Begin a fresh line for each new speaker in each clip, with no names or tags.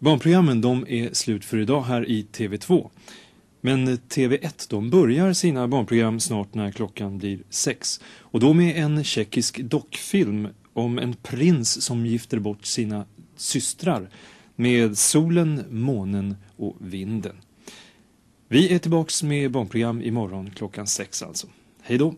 Barnprogrammen de är slut för idag här i TV2. Men TV1 de börjar sina barnprogram snart när klockan blir sex. Och då med en tjeckisk dockfilm om en prins som gifter bort sina systrar med solen, månen och vinden. Vi är tillbaks med barnprogram imorgon klockan sex alltså. Hej då!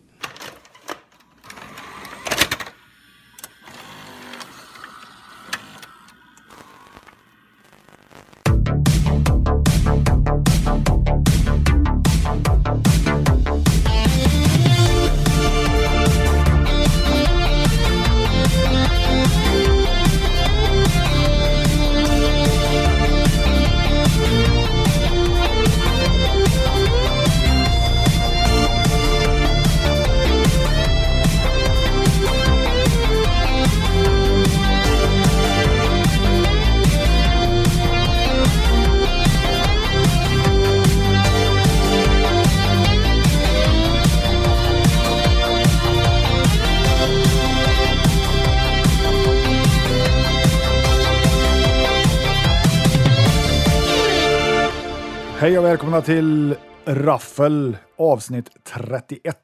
Hej och välkomna till Raffel avsnitt 31.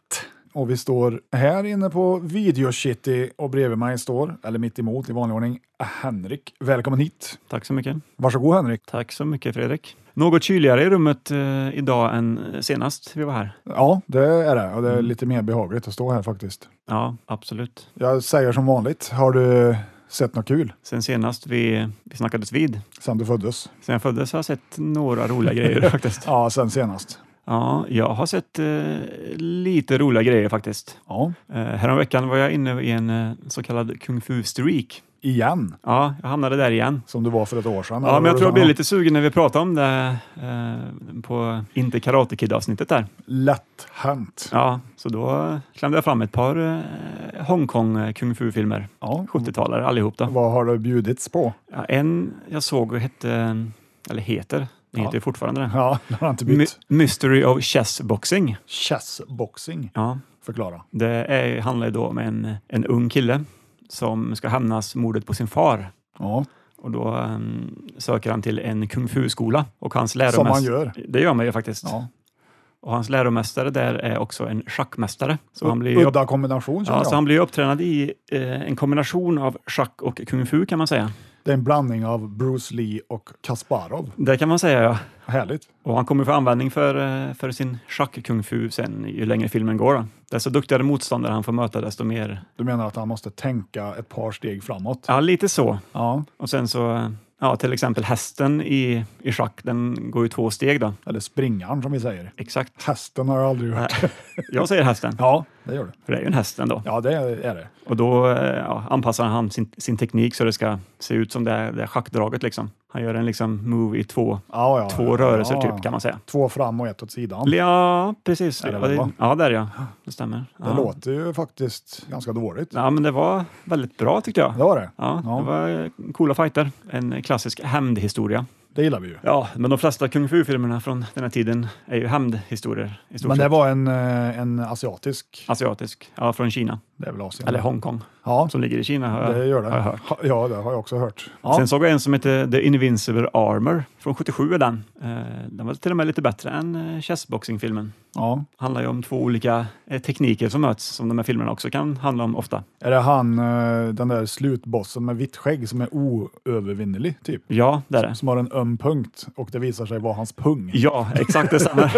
Och vi står här inne på Video City och bredvid mig står, eller mitt emot i vanlig ordning, Henrik. Välkommen hit!
Tack så mycket.
Varsågod Henrik!
Tack så mycket Fredrik. Något kyligare i rummet eh, idag än senast vi var här.
Ja, det är det. Och det
Mm.
är lite mer behagligt att stå här faktiskt.
Ja, absolut.
Jag säger som vanligt, har du sett något kul
Sen senast vi, vi snackades vid.
sen du föddes?
Sen jag föddes har jag sett några roliga grejer faktiskt.
Ja, sen senast.
Ja, jag har sett eh, lite roliga grejer faktiskt.
Ja,
Eh, häromveckan var jag inne i en eh, så kallad kung fu streak.
igen.
Ja, jag hamnade där igen.
Som du var för ett år sedan.
Ja,
eller
men
vad
jag
du
tror jag
sa.
blev lite sugen när vi pratade om det eh, på Inte Karate Kid-avsnittet där.
Lätt hänt.
Ja, så då klämde jag fram ett par eh, Hongkong eh, kung fu-filmer.
Ja.
70-talare allihop då.
Vad har du bjudits på?
Ja, en jag såg och hette, eller heter, den
Ja.
heter ju fortfarande det.
Ja, jag har inte
My-
bytt.
Mystery of Chess Boxing.
Chessboxing.
Ja,
Förklara.
det är, handlar ju då om en, en ung kille som ska hämnas mordet på sin far.
Ja,
Och då eh, söker han till en kung fu-skola och hans läromästare...
som man gör.
Det gör man ju faktiskt.
Ja.
Och hans läromästare där är också en schackmästare. Så han blir ju
Udda kombination känner
Ja, så
jag.
han blir ju upptränad i eh, en kombination av schack och kung fu kan man säga.
Det är en blandning av Bruce Lee och Kasparov.
Det kan man säga ja.
Härligt.
Och han kommer få användning för, eh, för sin schack-kung fu sen ju längre filmen går. Då. Desto duktigare motståndare han får möta desto mer.
Du menar att han måste tänka ett par steg framåt?
Ja, lite så.
Ja.
Och sen så, eh, ja till exempel hästen i, i schack, den går ju två steg då.
Eller springaren som vi säger.
Exakt.
Hästen har jag aldrig hört.
Nej, Jag säger hästen,
Ja, det gör du.
för det är ju en häst ändå.
Ja, det är det.
Och då eh, ja, anpassar han sin, sin teknik så det ska se ut som det, är- det är schackdraget liksom. Han gör en liksom move i två,
Ja, ja,
två rörelser
ja.
typ kan man säga.
Två fram och ett åt sidan.
Ja, precis.
Är det
Ja,
väl,
det-
va?
ja, där ja. Det stämmer. Ja.
Det låter ju faktiskt ganska dåligt.
Ja, men det var väldigt bra tyckte jag.
Det var det.
Ja,
Ja.
det var eh, coola fighter. En klassisk hämndhistoria.
Det gillar vi ju.
Ja, men de flesta kung fu-filmerna från den här tiden är ju hämndhistorier i stort
Men det
sett.
var en, eh, en asiatisk.
Asiatisk. Ja, från Kina.
Det är väl Asien?
Eller Hongkong,
Ja,
som ligger i Kina har jag,
det gör det.
har jag hört.
Ha- Ja, det har jag också hört. Ja.
Sen såg jag en som heter The Invincible Armor från 77 är den. Eh, Den var till och med lite bättre än eh, chessboxing-filmen.
Ja.
Handlar ju om två olika eh, tekniker som möts, som de här filmerna också kan handla om ofta.
Är det han, eh, den där slutbossen med vitt skägg som är oövervinnerlig, typ?
Ja, det är det.
Som har en öm punkt och det visar sig vara hans pung.
Ja, exakt det stämmer.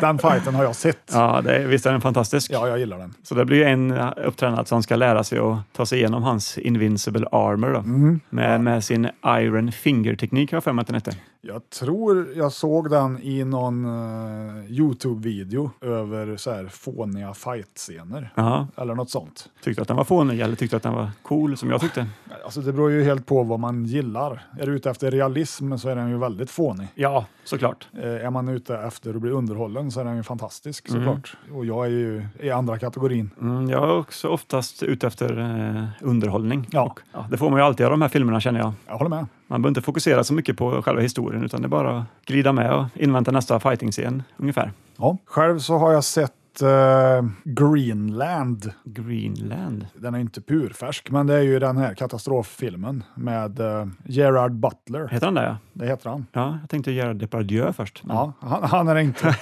Den fighten har jag sett. Ja,
Ja, det är, visst är den fantastisk?
jag gillar den.
Så det blir ju en eh, upptränad som ska lära sig att ta sig igenom hans Invincible Armor då, med, med sin Iron Finger-teknik har jag för mig att den hette.
Jag tror jag såg den i någon eh, Youtube-video över så här fåniga fight-scener.
Ja,
Eller något sånt.
tyckte att den var fånig eller tyckte att den var cool som jag tyckte?
Alltså det beror ju helt på vad man gillar. Är du ute efter realism så är den ju väldigt fånig.
Ja, såklart.
Eh, Är man ute efter att bli underhållen så är den ju fantastisk såklart. Och jag är ju i andra kategorin.
Mm, jag är också oftast ute efter eh, underhållning.
Ja,
Ja, det får man ju alltid av de här filmerna känner jag.
jag håller med.
Man behöver inte fokusera så mycket på själva historien utan det är bara att glida med och invänta nästa fighting-scen ungefär.
Ja. Själv så har jag sett sett eh, Greenland.
Greenland.
Den är inte purfärsk, men det är ju den här katastroffilmen med eh, Gerard Butler.
Heter han det? Ja,
Det heter han.
ja jag tänkte göra Depardieu först. men-
Ja, han, han är det inte.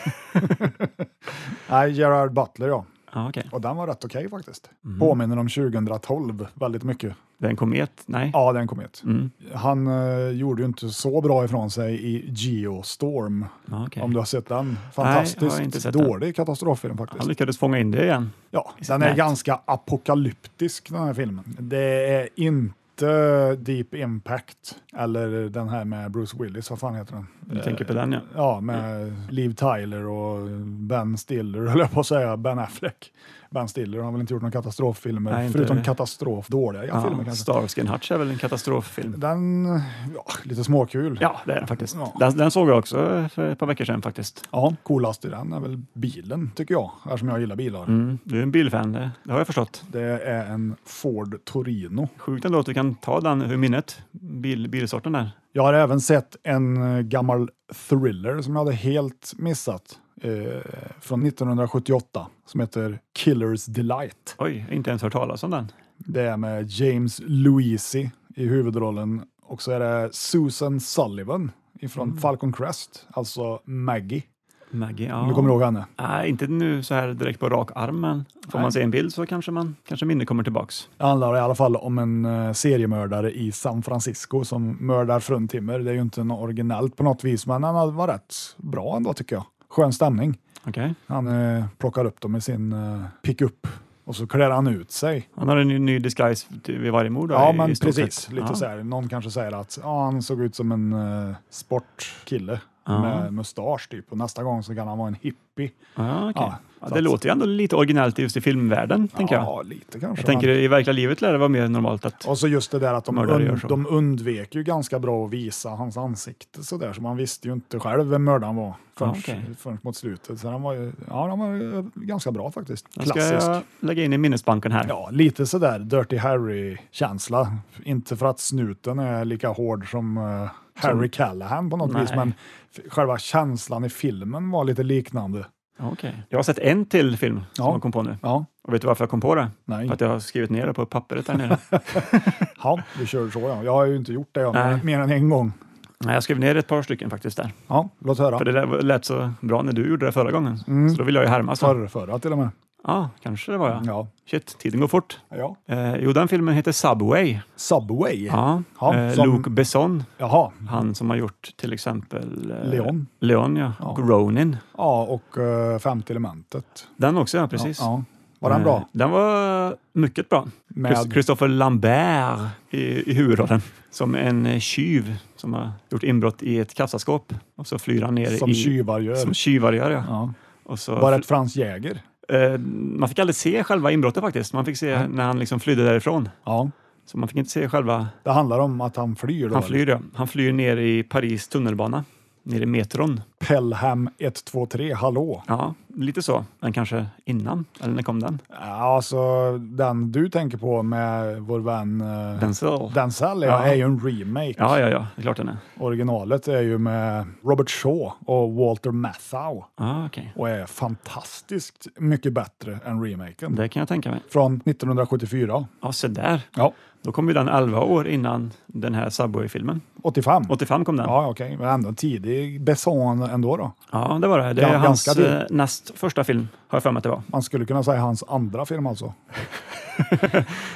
Nej, Gerard Butler ja.
ja okej.
Och den var rätt okej faktiskt.
Mm.
Påminner om 2012 väldigt mycket.
Det är en komet? Nej.
Ja, den kom ut.
Mm.
Han eh, gjorde ju inte så bra ifrån sig i Geostorm,
Ja, okej.
om du har sett den.
har jag
Fantastiskt
inte sett den.
dålig katastroffilm faktiskt.
Han lyckades fånga in det igen.
Ja,
sitt
den är
nät.
ganska apokalyptisk den här filmen. Det är inte Deep Impact eller den här med Bruce Willis, vad fan heter den?
Du tänker på den ja.
Ja, med Liv Tyler och Ben Stiller, höll jag på att säga, Ben Affleck. Ben Stiller har väl inte gjort några katastroffilmer,
Nej, inte
förutom
det.
katastrof, dåliga filmer
ja
kanske.
Starsky and Hutch är väl en katastroffilm?
Den, ja, lite småkul.
Ja, det är den faktiskt.
Ja.
Den, den såg jag också för ett par veckor sedan faktiskt.
Ja, coolast i den är väl bilen, tycker jag, eftersom jag gillar bilar.
Mm. Du är en bilfan, det, det har jag förstått.
Det är en Ford Torino.
Sjukt ändå att du kan ta den ur minnet, bil, bilsorten där.
Jag har även sett en eh, gammal thriller som jag hade helt missat eh, från 1978 som heter Killers Delight.
Oj, jag har inte ens hört talas om den.
Det är med James Luisi i huvudrollen och så är det Susan Sullivan ifrån Falcon Crest, alltså Maggie.
Maggie,
Om
ja.
du kommer ihåg henne?
Nej, inte nu så här direkt på rak arm, men får
Nej.
man se en bild så kanske, man, kanske minnet kommer tillbaks.
Det handlar i alla fall om en eh, seriemördare i San Francisco som mördar fruntimmer. Det är ju inte något originellt på något vis, men han var rätt bra ändå tycker jag. Skön stämning.
Okej.
Han eh, plockar upp dem i sin eh, pickup och så klär han ut sig.
Han har en ny, ny disguise vid varje mord? då,
Ja,
i- i
men
stort
precis.
sett.
Lite
ja.
så här. Någon kanske säger att ja, han såg ut som en eh, sportkille
Ja.
med mustasch typ och nästa gång så kan han vara en hippie.
Ja, okej.
Ja,
ja,
så
det
att-
låter ju ändå lite originellt just i filmvärlden, tänker jag.
Ja, lite kanske.
Jag
men-
tänker i verkliga livet lär det vara mer normalt att...
Och så just det där att de,
Mördare gör
und,
så.
de undvek ju ganska bra att visa hans ansikte så där, så man visste ju inte själv vem mördaren var förrän,
Ja, okej.
förrän mot slutet. Så han var ju, ja, han var ju ganska bra faktiskt.
Den ska
Klassisk.
jag lägga in i minnesbanken här.
Ja, lite sådär Dirty Harry-känsla. Inte för att snuten är lika hård som eh, Harry Callahan på något
Nej.
vis, men f- själva känslan i filmen var lite liknande.
Okej. Jag har sett en till film
Ja. Mm.
som jag kom på nu.
Ja,
Och vet du varför jag kom på det?
nej.
För att jag har skrivit ner det på pappret där nere.
Ja, vi kör så ja. Jag har ju inte gjort det jag,
Nej.
mer än en gång.
Nej, jag skrev ner ett par stycken faktiskt där.
Ja, låt höra.
För det lät- lät så bra när du gjorde det förra gången.
Mm.
Så då vill jag ju härma. Så.
Förra, förra till och med.
Ja, kanske det var jag.
Ja.
Shit, tiden går fort.
ja.
Eh, jo, den filmen heter Subway.
Subway.
Ja.
Ja,
eh,
som-
Luc Besson,
Jaha,
han som har gjort till exempel eh,
Leon.
Leon ja.
Ja.
och Ronin.
Ja, och uh, Femte elementet.
Den också, ja, precis.
Ja, ja. Var den bra?
Eh, Den var mycket bra. Chris-
Med,
Christopher Lambert i, i huvudrollen som en eh, tjuv som har gjort inbrott i ett kassaskåp och så flyr han ner
som
i...
tjuvar gör.
Som tjuvar gör ja.
Ja.
Och så,
Var det ett Frans Jäger?
eh, man fick aldrig se själva inbrottet faktiskt. Man fick se när han liksom flydde därifrån.
Ja.
Så man fick inte se själva...
Det handlar om att han flyr då?
Han
eller?
flyr, ja. han flyr ner i Paris tunnelbana, ner i metron.
Pelham 123, hallå?
Ja, lite så. Men kanske innan, eller när kom den?
Alltså den du tänker på med vår vän eh,
Denzel?
Denzel ja,
Ja.
är ju en remake.
Ja, ja, ja, det är klart den är.
Originalet är ju med Robert Shaw och Walter Matthau
Ah, okej.
och är fantastiskt mycket bättre än remaken.
Det kan jag tänka mig.
Från 1974.
Ja, se där.
Ja,
Då kom ju den 11 år innan den här Subway-filmen.
85.
85 kom den. Ja,
Ja, okej, men ändå en tidig Besson ändå då.
det var det. Det är
Gan-
hans
ganska dyr.
eh, näst första film, har jag för mig att det var.
Man skulle kunna säga hans andra film alltså.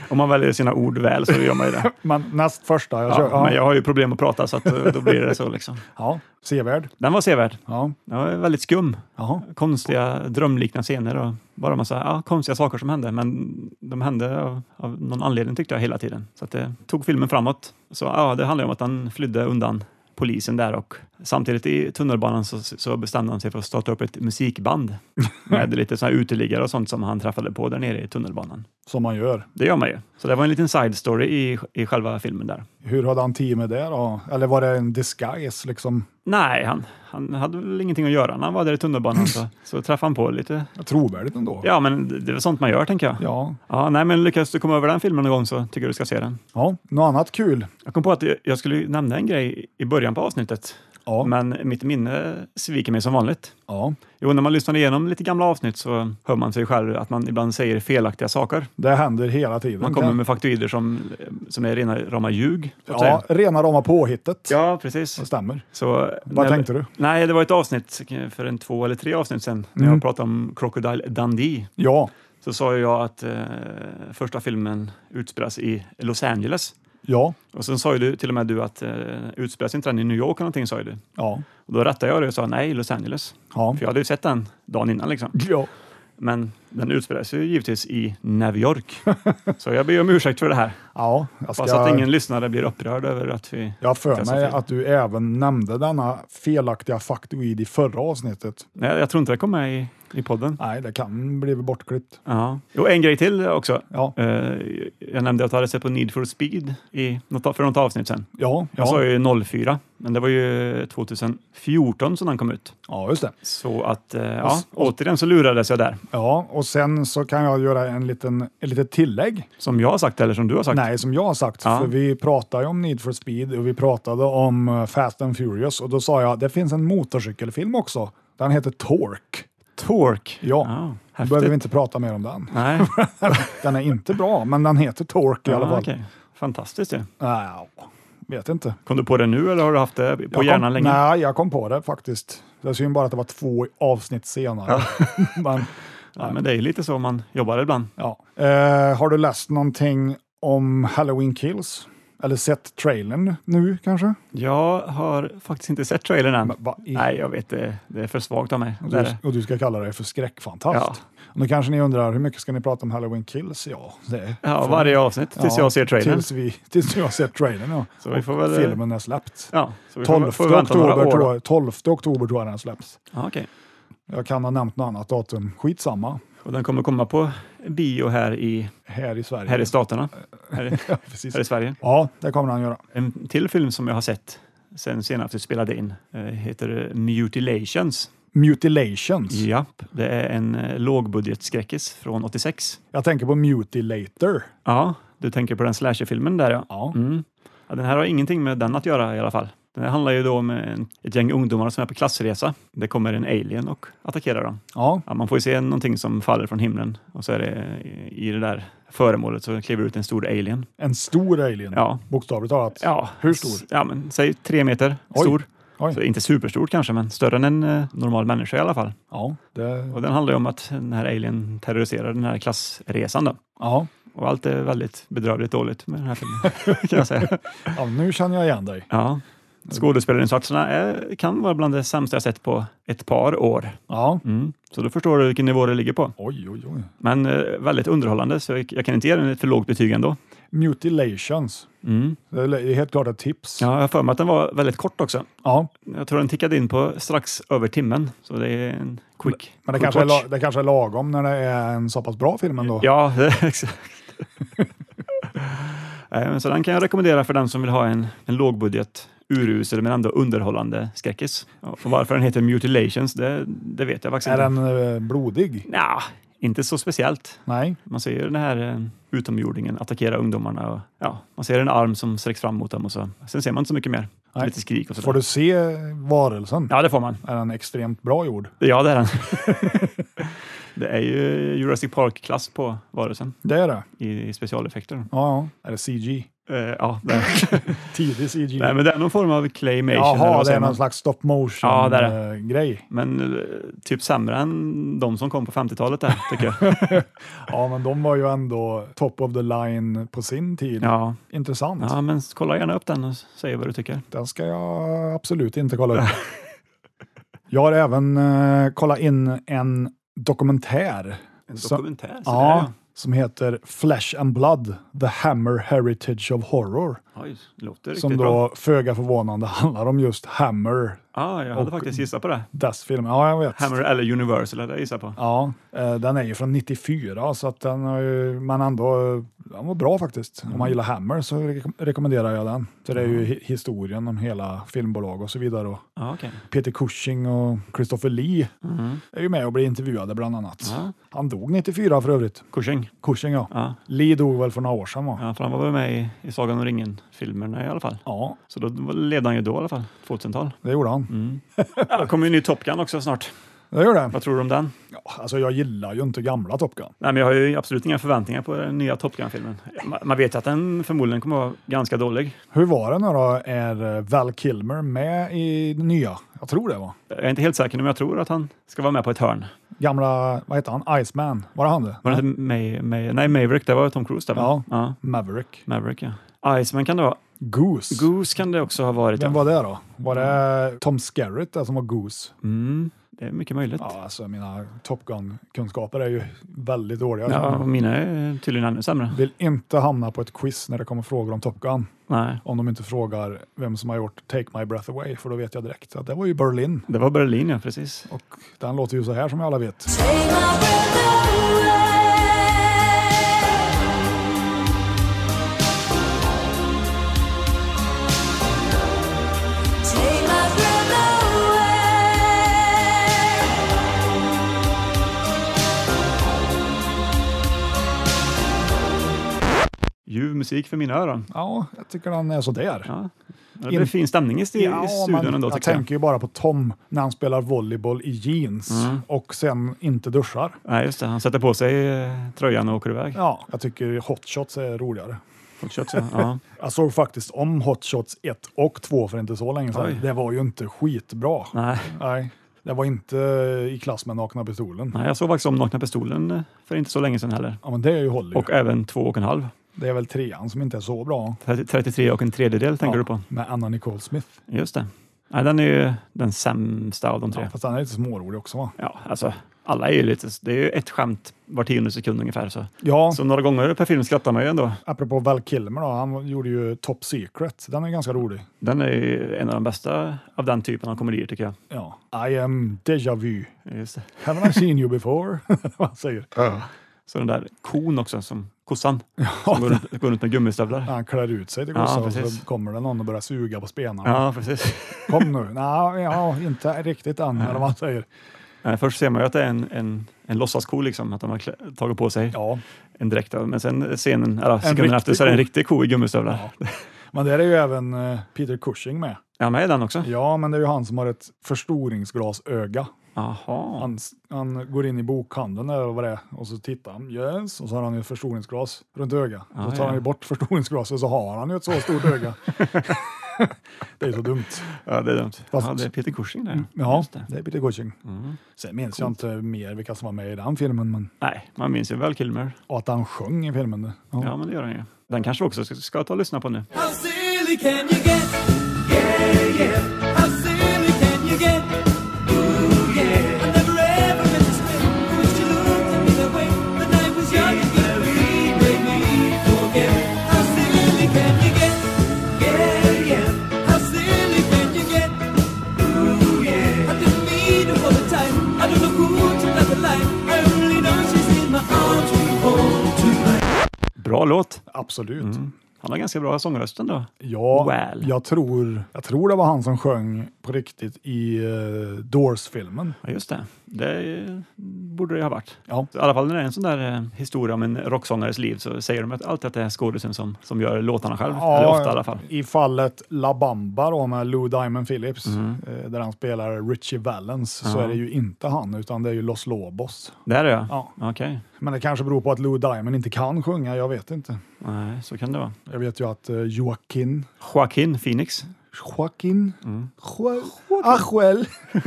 Om man väljer sina ord väl så gör man ju det.
Men näst första jag
Ja,
kör. Ja,
Men jag har ju problem att prata så att, eh, då blir det så liksom.
ja. Sevärd.
Den var sevärd.
Ja.
Den var väldigt skum.
Jaha.
Konstiga drömliknande scener och bara massa ja, konstiga saker som hände. Men de hände av, av någon anledning tyckte jag hela tiden. Så att det tog filmen framåt. Så ja, det handlar ju om att han flydde undan polisen där och samtidigt i tunnelbanan så, så bestämde han sig för att starta upp ett musikband med lite sådana här uteliggare och sånt som han träffade på där nere i tunnelbanan.
Som man gör.
Det gör man ju. Så det var en liten side story i, i själva filmen där.
Hur hade han tid med det då? Eller var det en disguise liksom?
Nej, han, han hade väl ingenting att göra när han var där i tunnelbanan så, så träffade han på lite.
Trovärdigt ändå.
Ja, men det det är väl sånt man gör tänker jag.
Ja.
Ja, nej, men lyckas du komma över den filmen någon gång så tycker jag du ska se den.
ja. Något annat kul?
Jag kom på att jag skulle nämna en grej i början på avsnittet.
Ja.
Men mitt minne sviker mig som vanligt.
ja.
Jo, när man lyssnar igenom lite gamla avsnitt så hör man sig själv att man ibland säger felaktiga saker.
Det händer hela tiden.
Man kommer med faktoider som, som är rena rama ljug. så att
ja,
säga.
rena rama påhittet.
ja,
Det
precis.
stämmer.
Så,
Vad
när-
tänkte du?
Nej, det var ett avsnitt för en två eller tre avsnitt sedan
Mm.
när jag pratade om Crocodile Dundee.
Ja,
Så sa ju jag att eh, första filmen utspelas i Los Angeles.
ja,
Och sen sa ju du till och med du att eh, utspelas inte den i New York eller någonting sa ju du.
ja,
Och då rättade jag det och sa nej, Los Angeles.
ja.
För jag hade ju sett den dagen innan liksom.
ja.
Men den utspelas ju givetvis i New York. Så jag ber om ursäkt för det här.
ja jag
Hoppas att
ska...
ingen lyssnare blir upprörd över att vi...
Jag har för
Testa
mig
fel.
att du även nämnde denna felaktiga faktoid i förra avsnittet.
Nej, jag tror inte det kom med i, i podden.
Nej, det kan bli bortklippt.
Ja. Jo, en grej till också.
Ja,
Eh, jag nämnde att jag hade sett på Need for speed i något, för något avsnitt sen.
ja,
Jag sa
ja.
ju 04, men det var ju 2014 som den kom ut.
ja just det.
Så att, eh,
Och
ja,
s-
återigen så lurades jag där.
Ja, och sen så kan jag göra en liten, en litet tillägg.
Som jag har sagt eller som du har sagt.
Nej, som jag har sagt,
Ja.
för vi pratade ju om Need for speed och vi pratade om eh, Fast and Furious och då sa jag att det finns en motorcykelfilm också. Den heter Torque.
Torque.
Ja.
ja
Nu behöver
Ah, häftigt.
vi inte prata mer om den.
Nej,
Den är inte bra, men den heter Torque i alla
ja,
fall.
okej. Fantastiskt ju.
Ja, vet inte.
Kom du på det nu eller har du haft det på
Jag
hjärnan
kom,
länge?
Nej, jag kom på det faktiskt. Det är synd bara att det var två avsnitt senare. men,
Ja, men det är ju lite så man jobbar ibland.
ja. eh, har du läst någonting om Halloween Kills? Eller sett trailern nu kanske?
Jag har faktiskt inte sett trailern än.
Men va, i-
Mm. Nej, jag vet det. Det är för svagt av mig.
Och
Det är
du,
det.
och du ska kalla det för skräckfantast. Nu kanske ni undrar, hur mycket ska ni prata om Halloween Kills? Ja, det är
Ja,
från-
varje avsnitt tills
Ja,
jag ser trailern.
Tills, vi, tills du har sett trailern, ja.
Så vi får
Och
väl...
Filmen är släppt.
Ja, så vi
12
får, får vänta några
oktober,
år.
tror
då.
jag, 12 oktober tror jag den släpps.
Ja, okej.
Jag kan ha nämnt något annat datum. Skitsamma.
Och den kommer komma på bio här i,
Här i Sverige.
här i staterna. Här i,
Ja, precis.
här i Sverige.
Ja, det kommer han göra.
En till film som jag har sett sen senast vi spelade in eh, heter Mutilations.
Mutilations.
Japp, det är en eh, lågbudgetskräckis från 86.
Jag tänker på Mutilator.
Ja, du tänker på den slasherfilmen där ja.
Ja.
Mm. ja. Den här har ingenting med den att göra i alla fall. Den här handlar ju då om en, ett gäng ungdomar som är på klassresa. Det kommer en alien och attackerar dem.
ja.
Ja, man får ju se någonting som faller från himlen och så är det i- i det där föremålet så kliver ut en stor alien.
En stor alien.
Ja,
Bokstavligt talat.
ja.
Hur stor?
S- Ja, men, säg tre meter
Oj.
stor.
Oj.
Så inte superstor kanske, men större än en eh, normal människa i alla fall.
Ja. Det,
Och den handlar ju om att den här alien terroriserar den här klassresan. Då.
ja.
Och allt är väldigt bedrövligt dåligt med den här filmen, kan jag säga.
ja. Nu känner jag igen dig.
Ja. Skådespelarinsatserna är, kan vara bland det sämsta jag sett på ett par år.
Ja.
Mm. Så då förstår du vilken nivå det ligger på.
Oj, oj, oj.
Men eh, väldigt underhållande, så jag, jag kan inte ge den ett för lågt betyg ändå.
Mutilations.
Mm.
Det är helt klart ett tips.
Ja, jag har för mig att den var väldigt kort också.
Ja.
Jag tror den tickade in på strax över timmen, så det är en quick
Men det
quick
kanske, är,
watch.
la- det kanske är lagom när det är en så pass bra film ändå.
Ja, exakt. Nej, men så den kan jag rekommendera för den som vill ha en, en lågbudget, urusel men ändå underhållande skräckis. Och varför den heter Mutilations, det, det vet jag faktiskt
Är
inte.
den eh, blodig?
Nja, inte så speciellt.
Nej.
Man ser ju den här eh, utomjordingen attackera ungdomarna. Och, ja, man ser en arm som sträcks fram mot dem och så. Sen ser man inte så mycket mer.
Nej.
Lite skrik och
Får
sådär.
du se varelsen?
Ja, det får man.
Är den extremt bra gjord?
Ja, det är den. det är ju Jurassic Park-klass på varelsen
Det är det.
i, i specialeffekter.
Ja, ja. Är det CG?
Eh, ja, det är.
Tidig CG.
Nej, men det är någon form av claymation. eller
Jaha,
vad
det
säger
är
man?
någon slags stop motion
Ja, det är det.
eh, grej.
Men eh, typ sämre än de som kom på 50-talet där, tycker jag.
Ja, men de var ju ändå top of the line på sin tid.
Ja.
Intressant.
ja, men kolla gärna upp den och säg vad du tycker.
Den ska jag absolut inte kolla upp. jag har även eh, kollat in en dokumentär
En
Så-
dokumentär, så
ja, som heter Flesh and Blood, The Hammer Heritage of Horror,
Oj, det låter riktigt
som då
bra.
föga förvånande handlar om just Hammer,
Ja, jag hade
och-
faktiskt gissat på det.
dess film. Ja, jag vet.
Hammer eller Universal hade jag gissat på.
Ja, eh, den är ju från 94 så att den har ju, men ändå, eh, den var bra faktiskt.
Mm.
Om man gillar Hammer så re- rekommenderar jag den. Så det är ju hi- historien om hela filmbolag och så vidare. Och
Ja, okej.
Peter Cushing och Christopher Lee är ju med och blir intervjuade bland annat.
Mm. Ja.
Han dog 94 för övrigt.
Cushing.
Cushing ja.
Ja.
Lee dog väl för några år sedan va?
ja, för han var väl med i, i Sagan om ringen filmerna i alla fall.
Ja,
Så då ledde han ju då i alla fall, 2000-tal.
det gjorde han.
Mm. Ja, det kommer ju en ny Top Gun också snart.
Det gjorde han.
Vad tror du om den?
Ja, alltså, jag gillar ju inte gamla Top Gun.
Nej, men jag har ju absolut inga förväntningar på den nya Top Gun-filmen. Ma- Man vet ju att den förmodligen kommer vara ganska dålig.
Hur var det nu då? Är eh, Val Kilmer med i den nya? Jag tror det var.
Jag är inte helt säker, men jag tror att han ska vara med på ett hörn.
Gamla, vad heter han? Iceman? Var det han det?
Var det inte May, May, nej, Maverick, det var Tom Cruise där va?
Ja.
ja.
Maverick.
Maverick, ja. Iceman kan det vara.
Goose.
Goose kan det också ha varit.
Vem
ja.
var det då? Var det Tom Skerritt där som var Goose?
Mm, det är mycket möjligt.
Ja, alltså mina Top Gun-kunskaper är ju väldigt dåliga.
Ja,
Jag
och mina är tydligen ännu sämre.
Vill inte hamna på ett quiz när det kommer frågor om Top Gun.
Nej,
Om de inte frågar vem som har gjort Take My Breath Away, för då vet jag direkt att det var ju Berlin.
det var Berlin, ja, precis.
Och den låter ju så här som vi alla vet.
Take my breath away. Take my breath away.
Ljuv musik för mina öron.
Ja, jag tycker den är sådär.
Ja. Det
In-
blir fin stämning i, sti- i studion ändå,
jag
tycker jag.
tänker ju bara på Tom när han spelar volleyboll i jeans
Mm.
och sen inte duschar.
Nej, just det. Han sätter på sig eh, tröjan och åker iväg.
Ja, jag tycker hot shots är roligare.
Och kött, så. Ja.
Jag såg faktiskt om Hot Shots 1 och 2 för inte så länge sedan.
Oj.
Det var ju inte skitbra. Nej.
Nej.
Det var inte i klass med Nakna pistolen.
Nej, jag såg faktiskt om Nakna Pistolen eh, för inte så länge sedan heller.
Ja, men det är ju Hollywood.
Och även två och en halv.
Det är väl trean som inte är så bra.
30, 33 och en tredjedel tänker du på.
Med Anna Nicole Smith.
Just det. Nej, den är ju den sämsta av de tre.
Ja, fast den är lite smårolig också va?
Ja, alltså alla är ju lite... Det är ju ett skämt var tionde sekund ungefär. Så,
Ja,
så några gånger per film skrattar man ju ändå.
apropå Val Kilmer då, han gjorde ju Top Secret. Den är ganska rolig.
Den är ju en av de bästa av den typen av komedier tycker jag.
Ja. I am deja vu.
Just det.
Haven't I seen you before? Vad han säger.
Så den där kon också, som kossan, som går runt, går runt med gummistövlar.
Han klär ut sig till
Ja,
Gustav och
precis.
så kommer det någon och börjar suga på spenarna.
Ja, precis.
Kom nu. Nej, ja, inte riktigt än, eller vad han säger.
Nej, först ser man ju att det är en, en, en låtsasko, liksom, att de har klä- tagit på sig
Ja,
en dräkt. av- Men sen scenen, eller sekunden efter,
riktig
så är det en
ko.
riktig ko i gummistövlar. Ja,
men där är ju även eh, Peter Cushing med.
med i den också?
Ja, men det är ju han som har ett förstoringsglasöga.
Jaha.
Han, s- han går in i bokhandeln eller vad det är och så tittar han. Yes, och så har han ju ett förstoringsglas runt ögat.
Ah,
Då tar han
ja.
ju bort förstoringsglaset och så har han ju ett så stort öga. det är så dumt.
Ja, det är dumt.
Fast- Mm,
Ja, det är Peter Cushing där.
Ja,
Just det.
det är Peter Cushing.
Mm.
Sen minns jag inte mer vilka som var med i den filmen, men
Nej, man minns ju väl Kilmer.
och att han sjöng i filmen. det- Ja.
Ja, men det gör han ju. Den kanske vi också ska, ska ta och lyssna på nu.
How silly can you get? Yeah, yeah. How silly can you get? Ooh, yeah. I never ever meant to swim. I wish you looked at me that way. When I was young, you could read, made me forget. How silly can you get? Yeah, yeah. How silly can you get? Ooh, yeah. I didn't mean it all the time. I don't know who turned out the light. I only know she's in my arms when you hold tonight.
Bra låt.
Absolut.
Han har ganska bra sångröst ändå.
Ja,
Mm. Well.
jag, tror, jag tror det var han som sjöng på riktigt i eh, Doors-filmen.
Ja, just det. Det eh, borde det ha varit.
Ja.
I alla fall när det är en sån där eh, historia om en rocksångares liv så säger de att alltid att det är skådisen som, som gör låtarna själv. Eller ofta i alla fall.
I fallet La Bamba då, med Lou Diamond Phillips, eh, där han spelar Richie Valens, så
Ja.
är det ju inte han, utan det är ju Los Lobos.
Det är det ja.
Ja.
Okej.
Men det kanske beror på att Lou Diamond inte kan sjunga, jag vet inte.
Nej, så kan det vara.
Jag vet ju att eh, Joaquin,
Joaquin Phoenix.
Joaquin,
Mm.
jo- Ajuel,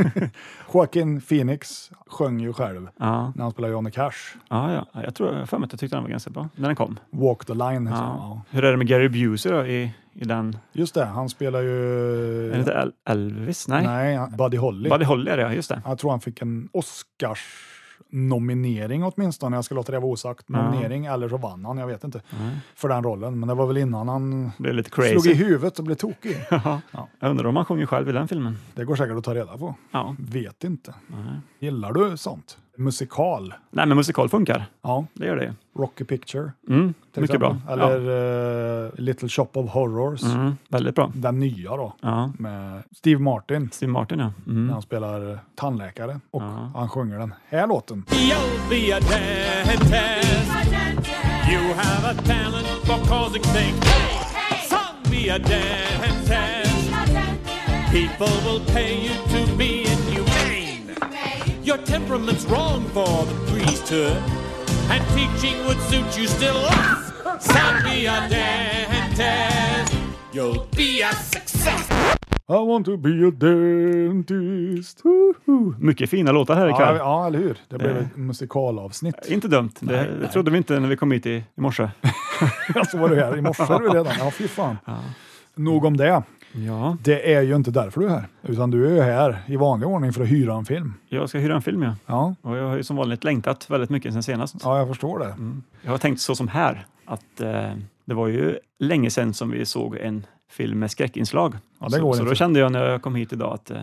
Joaquin Phoenix sjöng ju själv
Ja.
när han spelade Johnny Cash.
Ja, ja. Ja, jag tror jag har för mig att jag tyckte den var ganska bra när den kom.
Walk the line heter
Ja.
den, ja.
Hur är det med Gary Busey då i, i den?
Just det, han spelar ju...
Är det inte El- Elvis? Nej. Nej.
Nej, han- Buddy Holly.
Buddy Holly är det, ja. Just det.
Jag tror han fick en Oscars-nominering åtminstone. Jag ska låta det vara osagt. Nominering, eller så vann han, jag vet inte. För den rollen. Men det var väl innan han
Det är lite
slog i
crazy.
huvudet och blev tokig.
Jag undrar om han sjunger själv i den filmen.
Det går säkert att ta reda på.
Ja.
Vet inte. Gillar du sånt? Musikal?
Nej, men musikal funkar.
Ja.
Det gör det ju.
Rocky Picture?
Mm,
till
mycket bra.
exempel. Eller eh, Little Shop of Horrors?
ja. mm, väldigt bra.
Den nya då,
Ja.
med Steve Martin.
Steve Martin, ja.
när
Mm.
han spelar tandläkare och han sjunger den här låten.
You'll be a dentist. You have a talent for causing things. Some be be a dentist. People will pay you to be inhumane. Your temperament's wrong for the priesthood, and teaching would suit you still less. So be a dentist. You'll be a success.
I want to be a dentist.
Woohoo. Mycket fina låtar här
Ja,
ikväll.
ja, eller hur? Det
Eh.
blev ett musikalavsnitt.
Inte dumt. Det, det trodde vi inte när vi kom hit i, i morse.
Så var du här i morse du redan. Ja, fy fan. Nog om det.
Ja,
Det är ju inte därför du är här, utan du är ju här i vanlig ordning för att hyra en film.
jag ska hyra en film ja.
Ja,
Och jag har ju som vanligt längtat väldigt mycket sen senast.
ja jag förstår det.
Jag har tänkt så som här, att eh, det var ju länge sedan som vi såg en film med skräckinslag.
Ja, det
så,
går
så då
inte.
kände jag när jag kom hit idag att eh,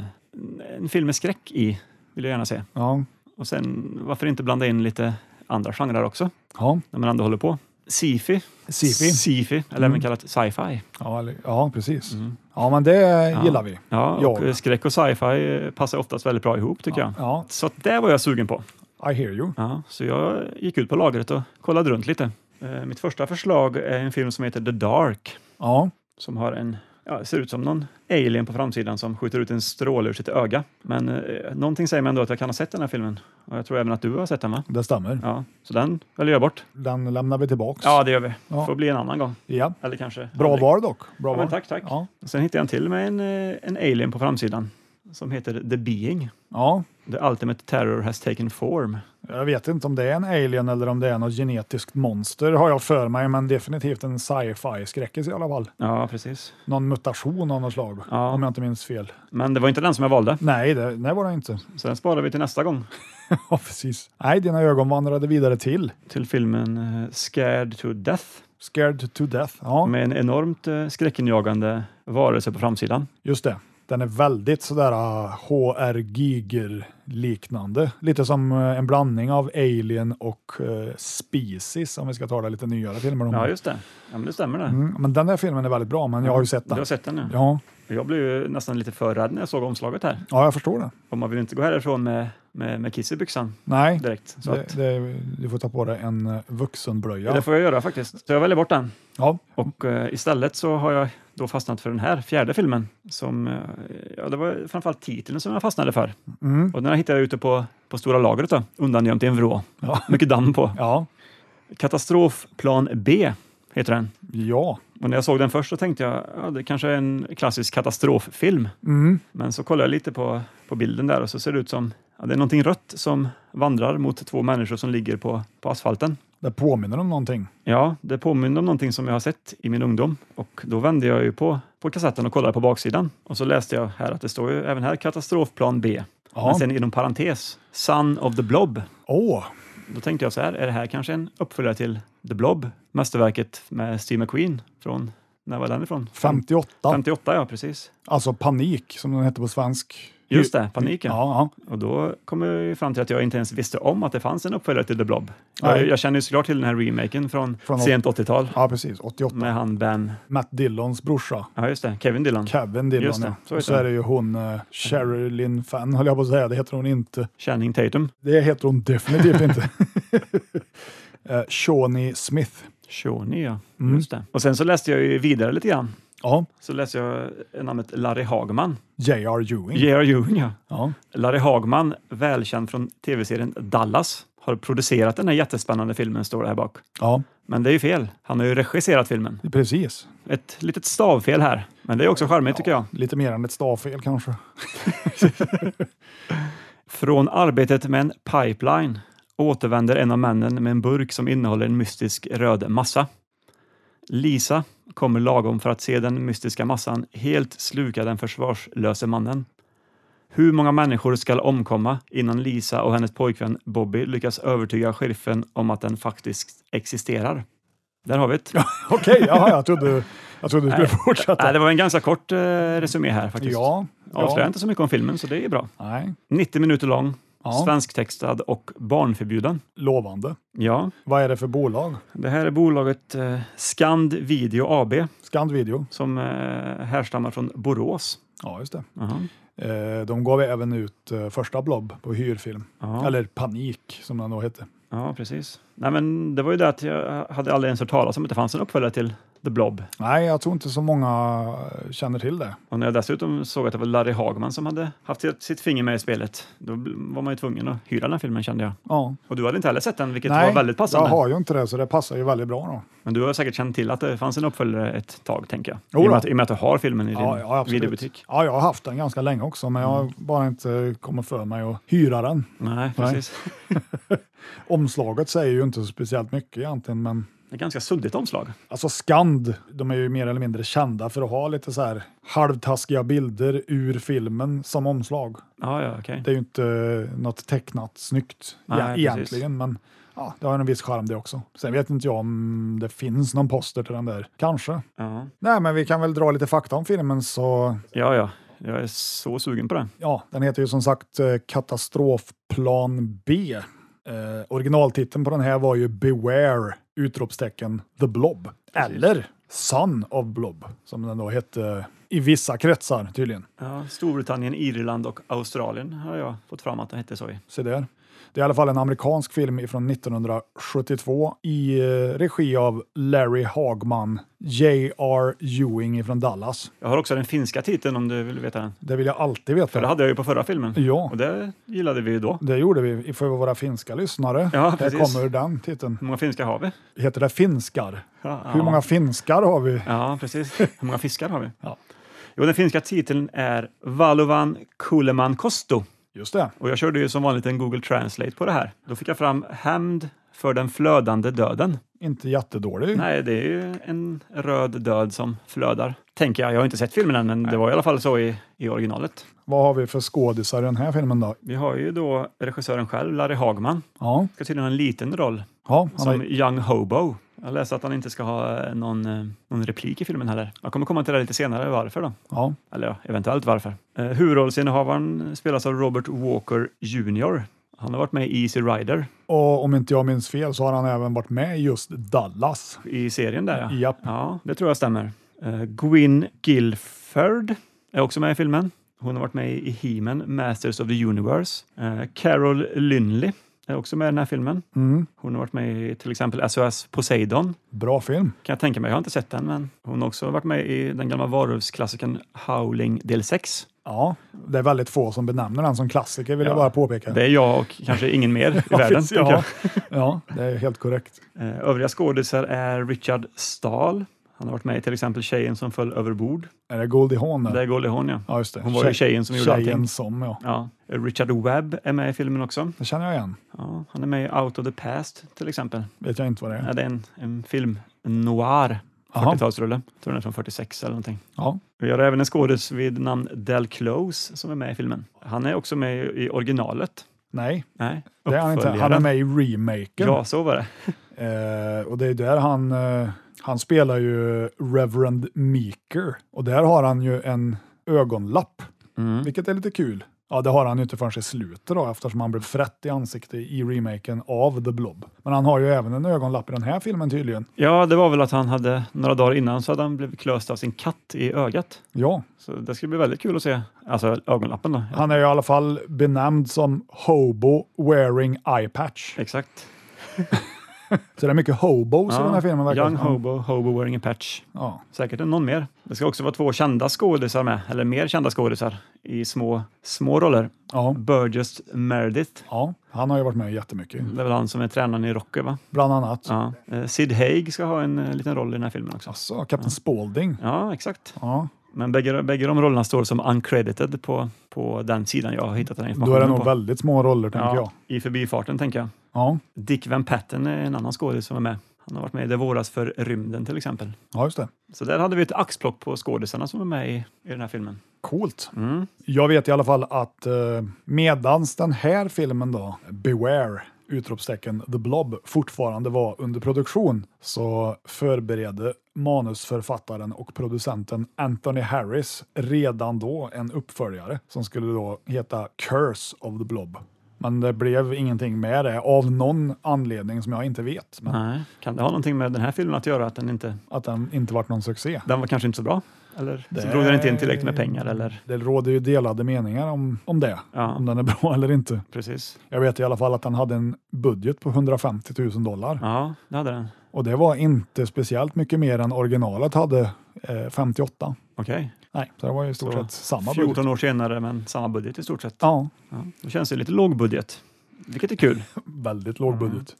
en film med skräck i vill jag gärna se.
Ja.
Och sen varför inte blanda in lite andra genrer också,
Ja,
när man ändå håller på. Sci-fi,
Sci-fi. Mm.
Sci-fi, eller även kallat sci-fi.
ja, eller- ja precis. Ja, men det gillar vi.
Mm. Ja, och
Ja.
eh, skräck och sci-fi eh, passar oftast väldigt bra ihop tycker jag.
Ja,
Så att det var jag sugen på.
I hear you.
Ja, så jag gick ut på lagret och kollade runt lite. Eh, mitt första förslag är en film som heter The Dark.
Ja,
som har en, ja, ser ut som någon alien på framsidan som skjuter ut en stråle ur sitt öga. Men eh, någonting säger mig ändå att jag kan ha sett den här filmen. Och jag tror även att du har sett den va?
det stämmer.
Ja, så den väljer jag bort.
Den lämnar vi tillbaks.
Ja, det gör vi.
Ja.
Får bli en annan gång.
Ja.
Eller kanske
Bra
aldrig.
val dock. Bra
Ja,
val.
men tack, tack.
Ja.
Sen hittade jag en till med en, eh, en alien på framsidan som heter The Being.
ja,
The Ultimate Terror Has Taken Form.
jag vet inte om det är en alien eller om det är något genetiskt monster har jag för mig, men definitivt en sci-fi skräckis i alla fall.
Ja, precis.
Någon mutation av något slag,
Ja.
om jag inte minns fel.
Men det var inte den som jag valde,
Nej, det, nej var det inte.
så den sparar vi till nästa gång.
ja, precis. Nej, dina ögon vandrade vidare till
Till filmen eh, Scared to Death
Scared to Death. Ja,
med en enormt eh, skräckinjagande varelse på framsidan.
just det. Den är väldigt sådär ah, HR Giger-liknande. Lite som eh, en blandning av Alien och eh, Species, om vi ska ta det lite nyare filmer om.
Ja, just det. Ja, men det stämmer det.
Mm, men den där filmen är väldigt bra, men jag har ju sett
Du
den.
har sett den nu. Ja.
Ja,
Jag blev ju nästan lite för rädd när jag såg omslaget här.
ja jag förstår det.
Och man vill inte gå härifrån med, med, med kiss i byxan
Nej,
direkt. Så
det,
att,
det, du får ta på dig en eh,
det
vuxenblöja.
får jag göra faktiskt. Så jag väljer bort den.
Ja,
Och eh, istället så har jag då fastnat för den här fjärde filmen. Som, eh, ja, det var framförallt titeln som jag fastnade för.
mm,
Och den här hittade jag ute på, på stora lagret då, undangömt i en vrå.
Ja.
Mycket damm på.
ja,
Katastrofplan B heter den.
ja.
Och när jag såg den först så tänkte jag ja, det kanske är en klassisk katastroffilm.
Mm,
Men så kollar jag lite på, på bilden där och så ser det ut som ja, det är någonting rött som vandrar mot två människor som ligger på, på asfalten.
det påminner om någonting.
Ja, det påminner om någonting som jag har sett i min ungdom och då vände jag ju på, på kassetten och kollade på baksidan och så läste jag här att det står ju även här katastrofplan B.
Ja.
Men sen inom parentes, Son of the Blob.
Åh,
Då tänkte jag så här, är det här kanske en uppföljare till The Blob, mästerverket med Steve McQueen från, när var den ifrån?
58.
58, ja precis.
Alltså Panik, som den hette på svensk.
Just det, paniken.
Ja, ja.
Och då kom jag ju fram till att jag inte ens visste om att det fanns en uppföljare till The Blob. Jag,
Nej.
jag känner ju såklart till den här remaken från,
Från åt-
sent 80-tal
ja precis. 88.
med han Ben,
Matt Dillons brorsa.
ja just det, Kevin Dillon,
Kevin Dillon,
Just det,
ja.
så
Så,
heter
och så
han.
är det ju hon, eh, Sherilyn Fenn, höll jag på att säga. Det heter hon inte.
Channing Tatum,
Det heter hon definitivt inte. Eh, Shawnee Smith.
Shoney ja,
Mm.
just det. Och sen så läste jag ju vidare lite grann.
Ja,
Så läste jag namnet Larry Hagman,
Mm. J.R. Ewing.
J.R. Ewing ja.
Ja.
Larry Hagman, välkänd från tv-serien Dallas, har producerat den här jättespännande filmen, står det här bak.
ja,
Men det är ju fel. Han har ju regisserat filmen.
precis.
Ett litet stavfel här, men det är också charmigt tycker jag.
Lite mer än ett stavfel kanske.
Från arbetet med en pipeline återvänder en av männen med en burk som innehåller en mystisk röd massa. Lisa kommer lagom för att se den mystiska massan helt sluka den försvarslöse mannen. Hur många människor ska omkomma innan Lisa och hennes pojkvän Bobby lyckas övertyga sheriffen om att den faktiskt existerar? Där har vi det.
Okej, jaha, jag trodde, jag trodde du skulle
Nej,
fortsätta.
det var en ganska kort eh, resumé här faktiskt.
Ja,
Avslöjar
ja.
inte så mycket om filmen, så det är bra.
Nej,
90 minuter lång,
Ja.
svensktextad och barnförbjuden.
lovande.
Ja,
Vad är det för bolag?
det här är bolaget eh, Scand Video AB
Scandvideo.
som eh, härstammar från Borås.
Ja, just det.
Jaha.
Eh, de gav även ut eh, första Blob på hyrfilm.
Ja,
Eller Panik, som den då hette.
ja, precis. Nej, men det var ju det att jag hade aldrig ens hört talas om att det fanns en uppföljare till The Blob.
Nej, jag tror inte så många eh, känner till det.
Och när jag dessutom såg att det var Larry Hagman som hade haft sitt- sitt finger med i spelet, då bl- var man ju tvungen att hyra den filmen kände jag.
Ja.
Och du hade inte heller sett den, vilket var väldigt passande.
jag har ju inte det, så det passar ju väldigt bra. Då.
Men du har säkert känt till att det fanns en uppföljare ett tag, tänker jag.
Jo
I och,
då.
med att, I och med att du har filmen i din
Ja, ja, absolut.
videobutik. Mm.
Ja, jag har haft den ganska länge också, men jag har bara inte kommit för mig att hyra den.
Nej,
Nej.
precis.
Omslaget säger ju inte så speciellt mycket egentligen, men
Det är ett ganska suddigt omslag.
Alltså Skand, de är ju mer eller mindre kända för att ha lite så här halvtaskiga bilder ur filmen som omslag.
Ja, ja, okej.
Det är ju inte eh, något tecknat snyggt e-
Nej, precis.
egentligen, men ja, det har en viss charm det också. Sen vet inte jag om det finns någon poster till den där. Kanske.
Ja.
Nej, men vi kan väl dra lite fakta om filmen så
ja, ja. Jag är så sugen på det.
ja, den heter ju som sagt eh, Katastrofplan B. Eh, originaltiteln på den här var ju Beware! Utropstecken The Blob. Eller Son of Blob, som den då hette i vissa kretsar tydligen.
Ja, Storbritannien, Irland och Australien har jag fått fram att det hette så i.
Se där. Det är i alla fall en amerikansk film från 1972 i eh, regi av Larry Hagman, J.R. Ewing från Dallas.
Jag har också den finska titeln om du vill veta den.
Det vill jag alltid
För det
veta.
hade jag ju på förra filmen.
Ja,
Och det gillade vi ju då.
det gjorde vi för våra finska lyssnare.
Ja,
där
precis.
kommer den titeln.
Hur många finska har vi?
Heter det finskar?
Ja,
Hur
ja.
många finskar har vi?
Ja, precis. Hur många fiskar har vi?
Ja.
Jo, den finska titeln är Valovan Kuleman Kosto.
Just det.
Och jag körde ju som vanligt en Google Translate på det här. Då fick jag fram hämnd för den flödande döden.
Inte jättedålig.
Nej, det är ju en röd död som flödar. Tänker jag. Jag har inte sett filmen än, men det var i alla fall så i, i originalet.
Vad har vi för skådisar i den här filmen då?
Vi har ju då regissören själv, Larry Hagman.
Ja,
Ska tydligen ha en liten roll
ja han
som
är,
Young Hobo. Jag läste att han inte ska ha eh, någon, eh, någon replik i filmen heller. Jag kommer komma till det lite senare varför då.
ja,
Eller ja, eventuellt varför. Eh, huvudrollsinnehavaren spelas av Robert Walker Jr. Han har varit med i Easy Rider
och om inte jag minns fel så har han även varit med i just Dallas.
i serien där. Ja,
Japp.
ja det tror jag stämmer. Eh, Gwyn Gilford är också med i filmen. Hon har varit med i He-Man, Masters of the Universe. Eh, Carol Lynley är också med i den här filmen.
Mm,
Hon har varit med i till exempel SOS Poseidon.
bra film.
Kan jag tänka mig. Jag har inte sett den, men hon har också varit med i den gamla varulvsklassikern Howling del 6.
Ja, det är väldigt få som benämner den som klassiker vill jag
Ja.
bara påpeka.
Det är jag och kanske ingen mer i världen.
finns-
tänker jag.
ja. ja, det är helt korrekt.
Eh, Övriga skådisar är Richard Stahl. Han har varit med i till exempel Tjejen som föll över bord.
Är det Goldie Hawn? där?
Där går hon ja.
Ja, just det.
Hon var ju
Tjej-
tjejen som gjorde
Tjejen
allting.
som, ja.
Ja. Richard Webb är med i filmen också.
Det känner jag igen.
Ja, han är med i Out of the Past till exempel.
Vet jag inte vad det
Ja,
är.
det är en, en film, en noir,
Jaha.
40-talsrulle. Jag tror den är från 46 eller någonting.
Ja.
Vi har även en skådis vid namn Del Close som är med i filmen. Han är också med i originalet.
Nej,
Nej,
det är han inte. Han är
uppföljaren.
med i remaken.
Ja, så var det.
Eh, och det är där han, eh, han spelar ju Reverend Meeker. Och där har han ju en ögonlapp,
Mm.
vilket är lite kul. Ja, det har han ju inte förrän i slutet då, eftersom han blev frätt i ansiktet i remaken av The Blob. Men han har ju även en ögonlapp i den här filmen tydligen.
Ja, det var väl att han hade några dagar innan så hade han blivit klöst av sin katt i ögat.
Ja,
Så det ska bli väldigt kul att se. Alltså ögonlappen då.
han är ju i alla fall benämnd som Hobo Wearing Eye Patch.
Exakt.
Så det är mycket hobos i den här filmen. verkar
Young
det som.
Hobo, Hobo wearing a patch.
Ja.
Säkert någon mer. Det ska också vara två kända skådisar med, eller mer kända skådisar i små, små roller.
Ja,
Burgess Meredith,
ja, han har ju varit med jättemycket,
det är väl han som är tränaren i Rocky va?
bland annat.
Mm. Ja. Eh, Sid Haig ska ha en eh, liten roll i den här filmen också.
Alltså, Kapten Spaulding.
Ja, exakt.
Ja.
Men bägge, bägge de rollerna står som uncredited på, på den sidan jag har hittat den
Då
informationen
är det nog
på.
väldigt små roller, tänker jag.
ja, I förbifarten tänker jag.
Ja,
Dick Van Patten är en annan skådis som är med. Han har varit med i Det våras för rymden till exempel.
ja just det.
Så där hade vi ett axplock på skådisarna som är med i, i den här filmen.
Coolt.
Mm.
Jag vet i alla fall att eh, medans den här filmen då, Beware, utropstecken The Blob, fortfarande var under produktion så förberedde manusförfattaren och producenten Anthony Harris redan då en uppföljare som skulle då heta Curse of the Blob. Men det blev ingenting med det av någon anledning som jag inte vet. Men
Nej. Kan det ha någonting med den här filmen att göra? Att den, inte,
att den inte vart någon succé.
den var kanske inte så bra? Eller
Det
så
är-
drog den inte in tillräckligt med pengar. Eller,
Det råder ju delade meningar om, om det,
ja,
om den är bra eller inte.
precis.
Jag vet i alla fall att den hade en budget på 150 000 dollar
Ja, det hade den.
och det var inte speciellt mycket mer än originalet hade eh, 58.
Okej.
Nej, så det var ju i stort
Så
sett samma
14
budget.
år senare, men samma budget i stort sett.
Ja,
Ja, då känns det lite låg budget, vilket är kul.
väldigt låg budget.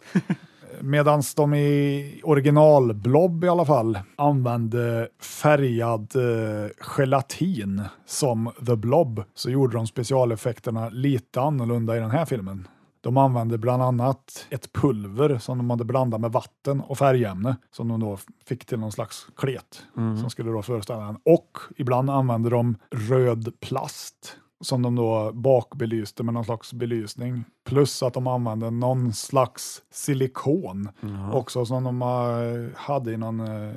Medan de i original Blob i alla fall använde färgad eh, gelatin som The Blob så gjorde de specialeffekterna lite annorlunda i den här filmen. De använde bland annat ett pulver som de hade blandat med vatten och färgämne som de då fick till någon slags klet som skulle då föreställa den. Och ibland använde de röd plast som de då bakbelyste med någon slags belysning. Plus att de använde någon slags silikon också som de eh, hade i någon, eh,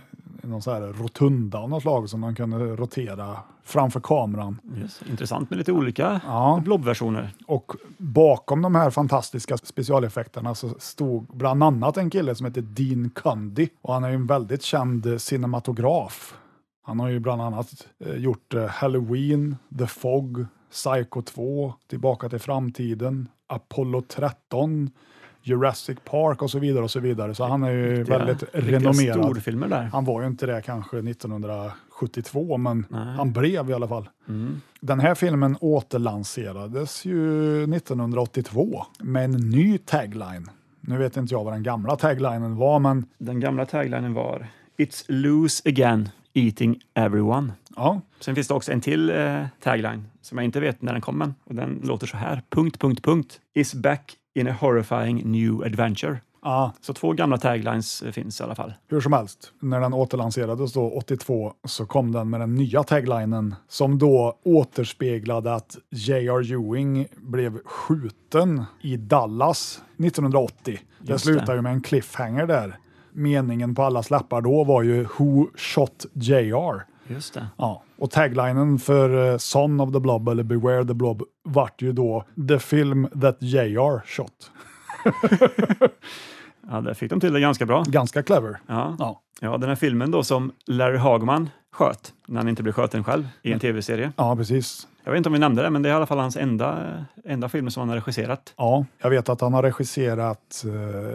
i någon så här rotunda av något slag som de kunde rotera framför kameran.
Yes. Intressant med lite olika
Ja.
blobversioner.
Och bakom de här fantastiska specialeffekterna så stod bland annat en kille som heter Dean Cundy och han är ju en väldigt känd eh, cinematograf. Han har ju bland annat eh, gjort eh, Halloween, The Fog, Psycho 2, Tillbaka till framtiden, Apollo 13, Jurassic Park och så vidare och så vidare. Så han är ju
Riktiga-
väldigt
riktiga
renommerad.
Storfilmer där.
Han var ju inte det kanske 1972, men
Nej.
han blev i alla fall. Den här filmen återlanserades ju 1982 med en ny tagline. Nu vet inte jag vad den gamla taglinen var, men
Den gamla taglinen var It's loose again, eating everyone.
ja,
Sen finns det också en till eh, tagline som jag inte vet när den kommer. Och den låter så här. Punkt, punkt, punkt. Is back in a horrifying new adventure.
ja
Så två gamla taglines eh, finns i alla fall.
hur som helst. När den återlanserades då 82 så kom den med den nya taglinen som då återspeglade att J.R. Ewing blev skjuten i Dallas 1980. Det
Just
slutar
det.
ju med en cliffhanger där. Meningen på alla läppar då var ju Who shot J.R.?
Just det.
Ja, och taglinen för eh, Son of the Blob eller Beware the Blob vart ju då The film that J.R. shot.
Ja, där fick de till det ganska bra.
Ganska clever.
Ja.
Ja.
ja, den här filmen då som Larry Hagman sköt när han inte blev skjuten själv i en tv-serie.
Ja, precis.
Jag vet inte om vi nämnde det, men det är i alla fall hans enda, enda film som han har regisserat.
Ja, jag vet att han har regisserat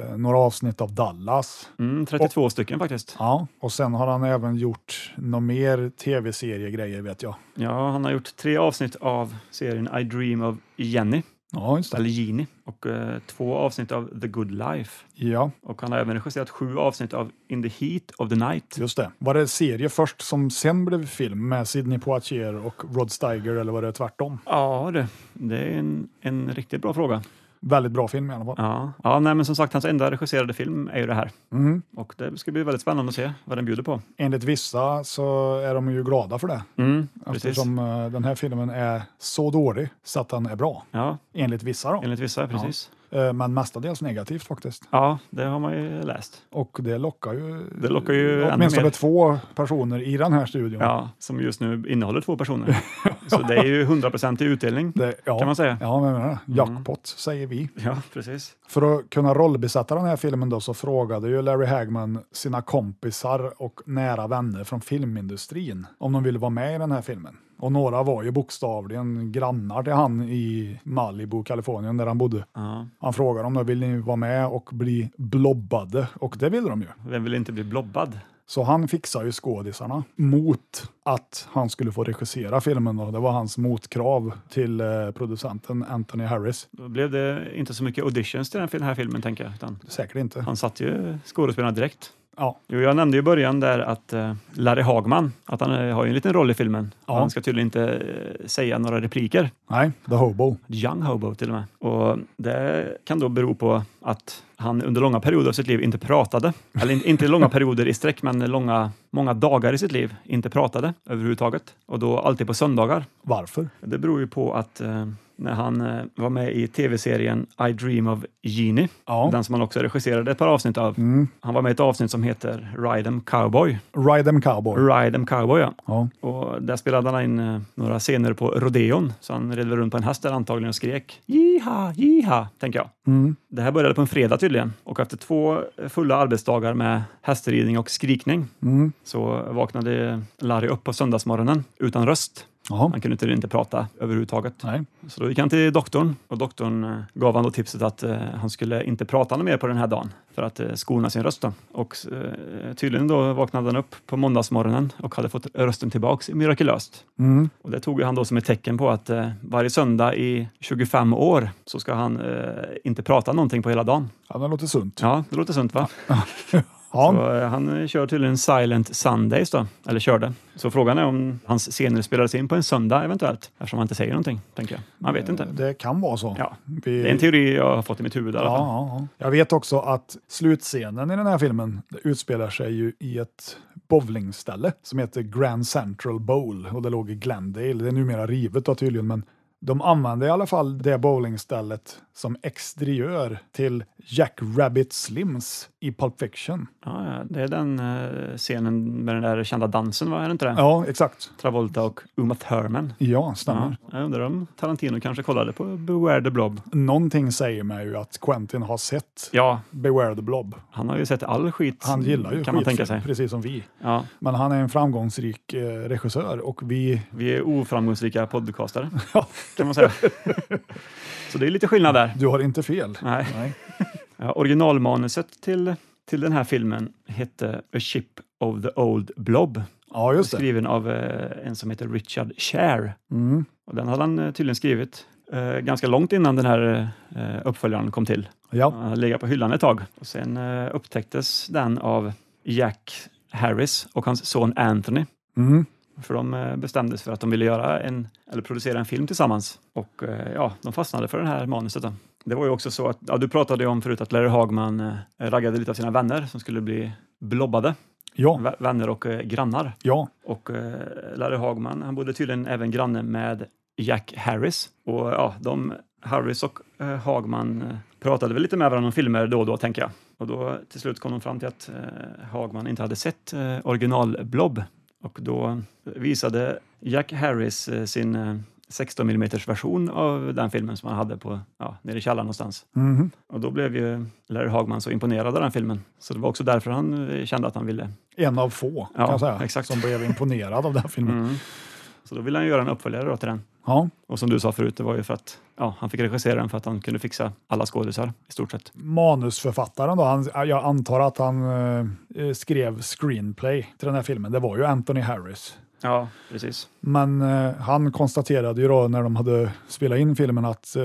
eh, några avsnitt av Dallas.
Mm, 32 stycken faktiskt.
Ja, och sen har han även gjort några mer tv-seriegrejer vet jag.
Ja, han har gjort tre avsnitt av serien I Dream of Jenny,
Ja, just det.
eller Genie, och eh, två avsnitt av The Good Life.
Ja,
Och han har även regisserat sju avsnitt av In the Heat of the Night.
just det. Var det serie först som sen blev film med Sidney Poitier och Rod Steiger eller var det tvärtom?
Ja du, det är en, en riktigt bra fråga.
Väldigt bra film i alla fall.
Ja, ja nej, men som sagt, hans enda regisserade film är ju det här.
Mm.
Och det ska bli väldigt spännande att se vad den bjuder på.
Enligt vissa så är de ju glada för det.
Mm, precis.
Eftersom eh, den här filmen är så dålig så att den är bra.
Ja,
Enligt vissa då.
enligt vissa, precis.
Eh, Men mestadels negativt faktiskt.
Ja, det har man ju läst.
Och det lockar ju,
Det lockar ju ännu
åtminstone
mer.
två personer i den här studion.
Ja, som just nu innehåller två personer. Så det är ju hundraprocentig utdelning.
Det, ja,
Kan man säga. Mm.
Ja, men jag menar, jackpot säger vi.
Ja, precis.
För att kunna rollbesätta den här filmen då så frågade ju Larry Hagman sina kompisar och nära vänner från filmindustrin om de ville vara med i den här filmen. Och några var ju bokstavligen grannar till han i Malibu, Kalifornien, där han bodde.
Ja.
Han frågade om de ville vara med och bli blobbade och det ville de ju.
Vem vill inte bli blobbad?
Så han fixade ju skådisarna mot att han skulle få regissera filmen. Då. Det var hans motkrav till eh, producenten Anthony Harris.
Då blev det inte så mycket auditions till den fil- här filmen, tänker jag. Utan
Säkert inte.
han satt ju skådespelarna direkt.
Ja,
Jo, jag nämnde ju i början där att eh, Larry Hagman, att han eh, har ju en liten roll i filmen.
Ja.
Han ska tydligen inte eh, säga några repliker.
nej, The Hobo.
Young Hobo till och med. Och det kan då bero på att han under långa perioder av sitt liv inte pratade. Eller in, inte långa perioder i sträck, men långa, många dagar i sitt liv inte pratade överhuvudtaget. Och då alltid på söndagar.
Varför?
Det beror ju på att eh, när han eh, var med i tv-serien I Dream of Genie,
Ja. Mm.
den som han också regisserade ett par avsnitt av. Han var med i ett avsnitt som heter Ride 'em Cowboy.
Ride 'em Cowboy.
Ride 'em Cowboy, ja.
Ja.
Och där spelade han in eh, några scener på
Mm.
rodeon, så han red väl runt på en häst där antagligen och skrek “Jiha, jiha”, tänker jag. Det här började på en fredag tydligen. Och efter två fulla arbetsdagar med hästridning och skrikning
Mm.
så vaknade Larry upp på söndagsmorgonen utan röst.
Jaha.
Han kunde inte, inte prata överhuvudtaget.
Nej.
Så då gick han till doktorn och doktorn eh, gav han då tipset att eh, han skulle inte prata något mer på den här dagen för att eh, skona sin röst. Då. Och eh, tydligen då vaknade han upp på måndagsmorgonen och hade fått rösten tillbaks mirakulöst.
Mm.
Och det tog ju han då som ett tecken på att eh, varje söndag i 25 år så ska han eh, inte prata någonting på hela dagen.
Ja, det låter sunt.
Ja, det låter sunt va?
Ja.
Så, eh, han eh, kör tydligen Silent Sundays då, eller körde. Så frågan är om hans scener spelades in på en söndag eventuellt, eftersom han inte säger någonting, tänker jag. Man vet inte.
Det kan vara så.
Ja.
Vi...
Det är en teori jag har fått i mitt huvud i alla
Ja,
fall.
ja, ja. Jag vet också att slutscenen i den här filmen det utspelar sig ju i ett bowlingställe som heter Grand Central Bowl och det låg i Glendale. Det är numera rivet då tydligen, men de använde i alla fall det bowlingstället som exteriör till Jack Rabbit Slims i Pulp Fiction.
Ja, ja, det är den eh, scenen med den där kända dansen, va? Är det inte det?
Ja, exakt.
Travolta och Uma Thurman.
Ja,
Ja,
stämmer.
jag undrar om Tarantino kanske kollade på Beware the Blob.
Någonting säger mig ju att Quentin har sett
Ja,
Beware the Blob.
han har ju sett all skit
Han gillar ju
kan man
skitfilm,
tänka sig.
precis som vi.
Ja,
Men han är en framgångsrik eh, regissör och vi
vi är oframgångsrika podcastare, kan man säga. Så det är lite skillnad där.
Du har inte fel.
Nej.
Nej.
Ja, originalmanuset till, till den här filmen hette A Ship of the Old Blob,
Ja, just det.
skriven av eh, en som heter Richard Cher.
Mm.
Och den hade han eh, tydligen skrivit eh, ganska långt innan den här eh, uppföljaren kom till.
Ja.
Han hade legat på hyllan ett tag och sen eh, upptäcktes den av Jack Harris och hans son Anthony.
Mm.
För de eh, bestämdes för att de ville göra en, eller producera en film tillsammans. Och eh, ja, de fastnade för det här manuset. Då. Det var ju också så att, ja, du pratade ju om förut att Larry Hagman eh, raggade lite av sina vänner som skulle bli blobbade.
Ja.
Vä- Vänner och eh, grannar.
Ja.
Och eh, Larry Hagman, han bodde tydligen även granne med Jack Harris. Och ja, de, Harris och eh, Hagman eh, pratade väl lite med varandra om filmer då och då, tänker jag. Och då till slut kom de fram till att eh, Hagman inte hade sett eh, original Blob. Och då visade Jack Harris eh, sin eh, 16 mm version av den filmen som han hade på, ja, nere i källaren någonstans.
Mhm.
Och då blev ju Larry Hagman så imponerad av den filmen. Så det var också därför han eh, kände att han ville
En av få kan
Ja,
jag säga,
exakt.
som blev imponerad av den här filmen.
Mm. Så då ville han göra en uppföljare då till den.
Ja.
Och som du sa förut, det var ju för att ja, han fick regissera den för att han kunde fixa alla skådisar i stort sett.
Manusförfattaren då, han, jag antar att han eh, skrev screenplay till den här filmen. Det var ju Anthony Harris.
Ja, precis.
Men eh, han konstaterade ju då när de hade spelat in filmen att eh,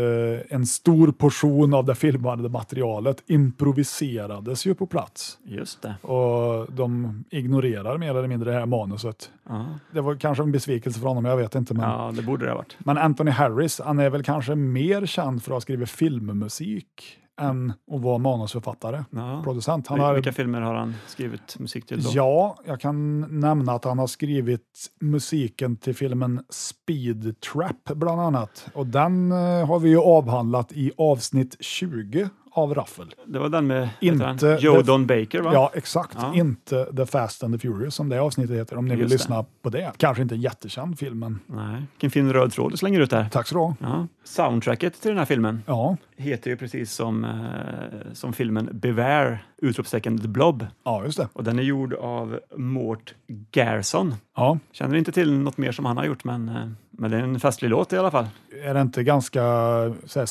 en stor portion av det filmade materialet improviserades ju på plats.
Just det.
Och de ignorerar mer eller mindre det här manuset.
Ja,
Det var kanske en besvikelse för honom, jag vet inte. Men
ja det borde det ha varit.
Men Anthony Harris, han är väl kanske mer känd för att ha skrivit filmmusik än att vara manusförfattare,
Ja.
producent. Han
Vil- Vilka
har,
filmer har han skrivit musik till då?
ja, jag kan nämna att han har skrivit musiken till filmen Speed Trap bland annat. Och den eh, har vi ju avhandlat i avsnitt 20 av Raffel.
Det var den med
Inte
heter han? Joe
det-
Don Baker, va?
Ja, exakt.
Ja.
Inte The Fast and the Furious som det avsnittet heter, om ni vill
Just det.
lyssna på det. Kanske inte en jättekänd film, men
Nej. Vilken fin röd tråd du slänger ut där.
tack så du ha.
Ja. Soundtracket till den här filmen
Ja,
heter ju precis som, eh, som filmen Beware! Utropstecken The Blob.
ja, just det.
Och den är gjord av Mort Garson.
Ja.
Känner inte till något mer som han har gjort, men, eh, men det är en festlig låt i alla fall.
är det inte ganska så här,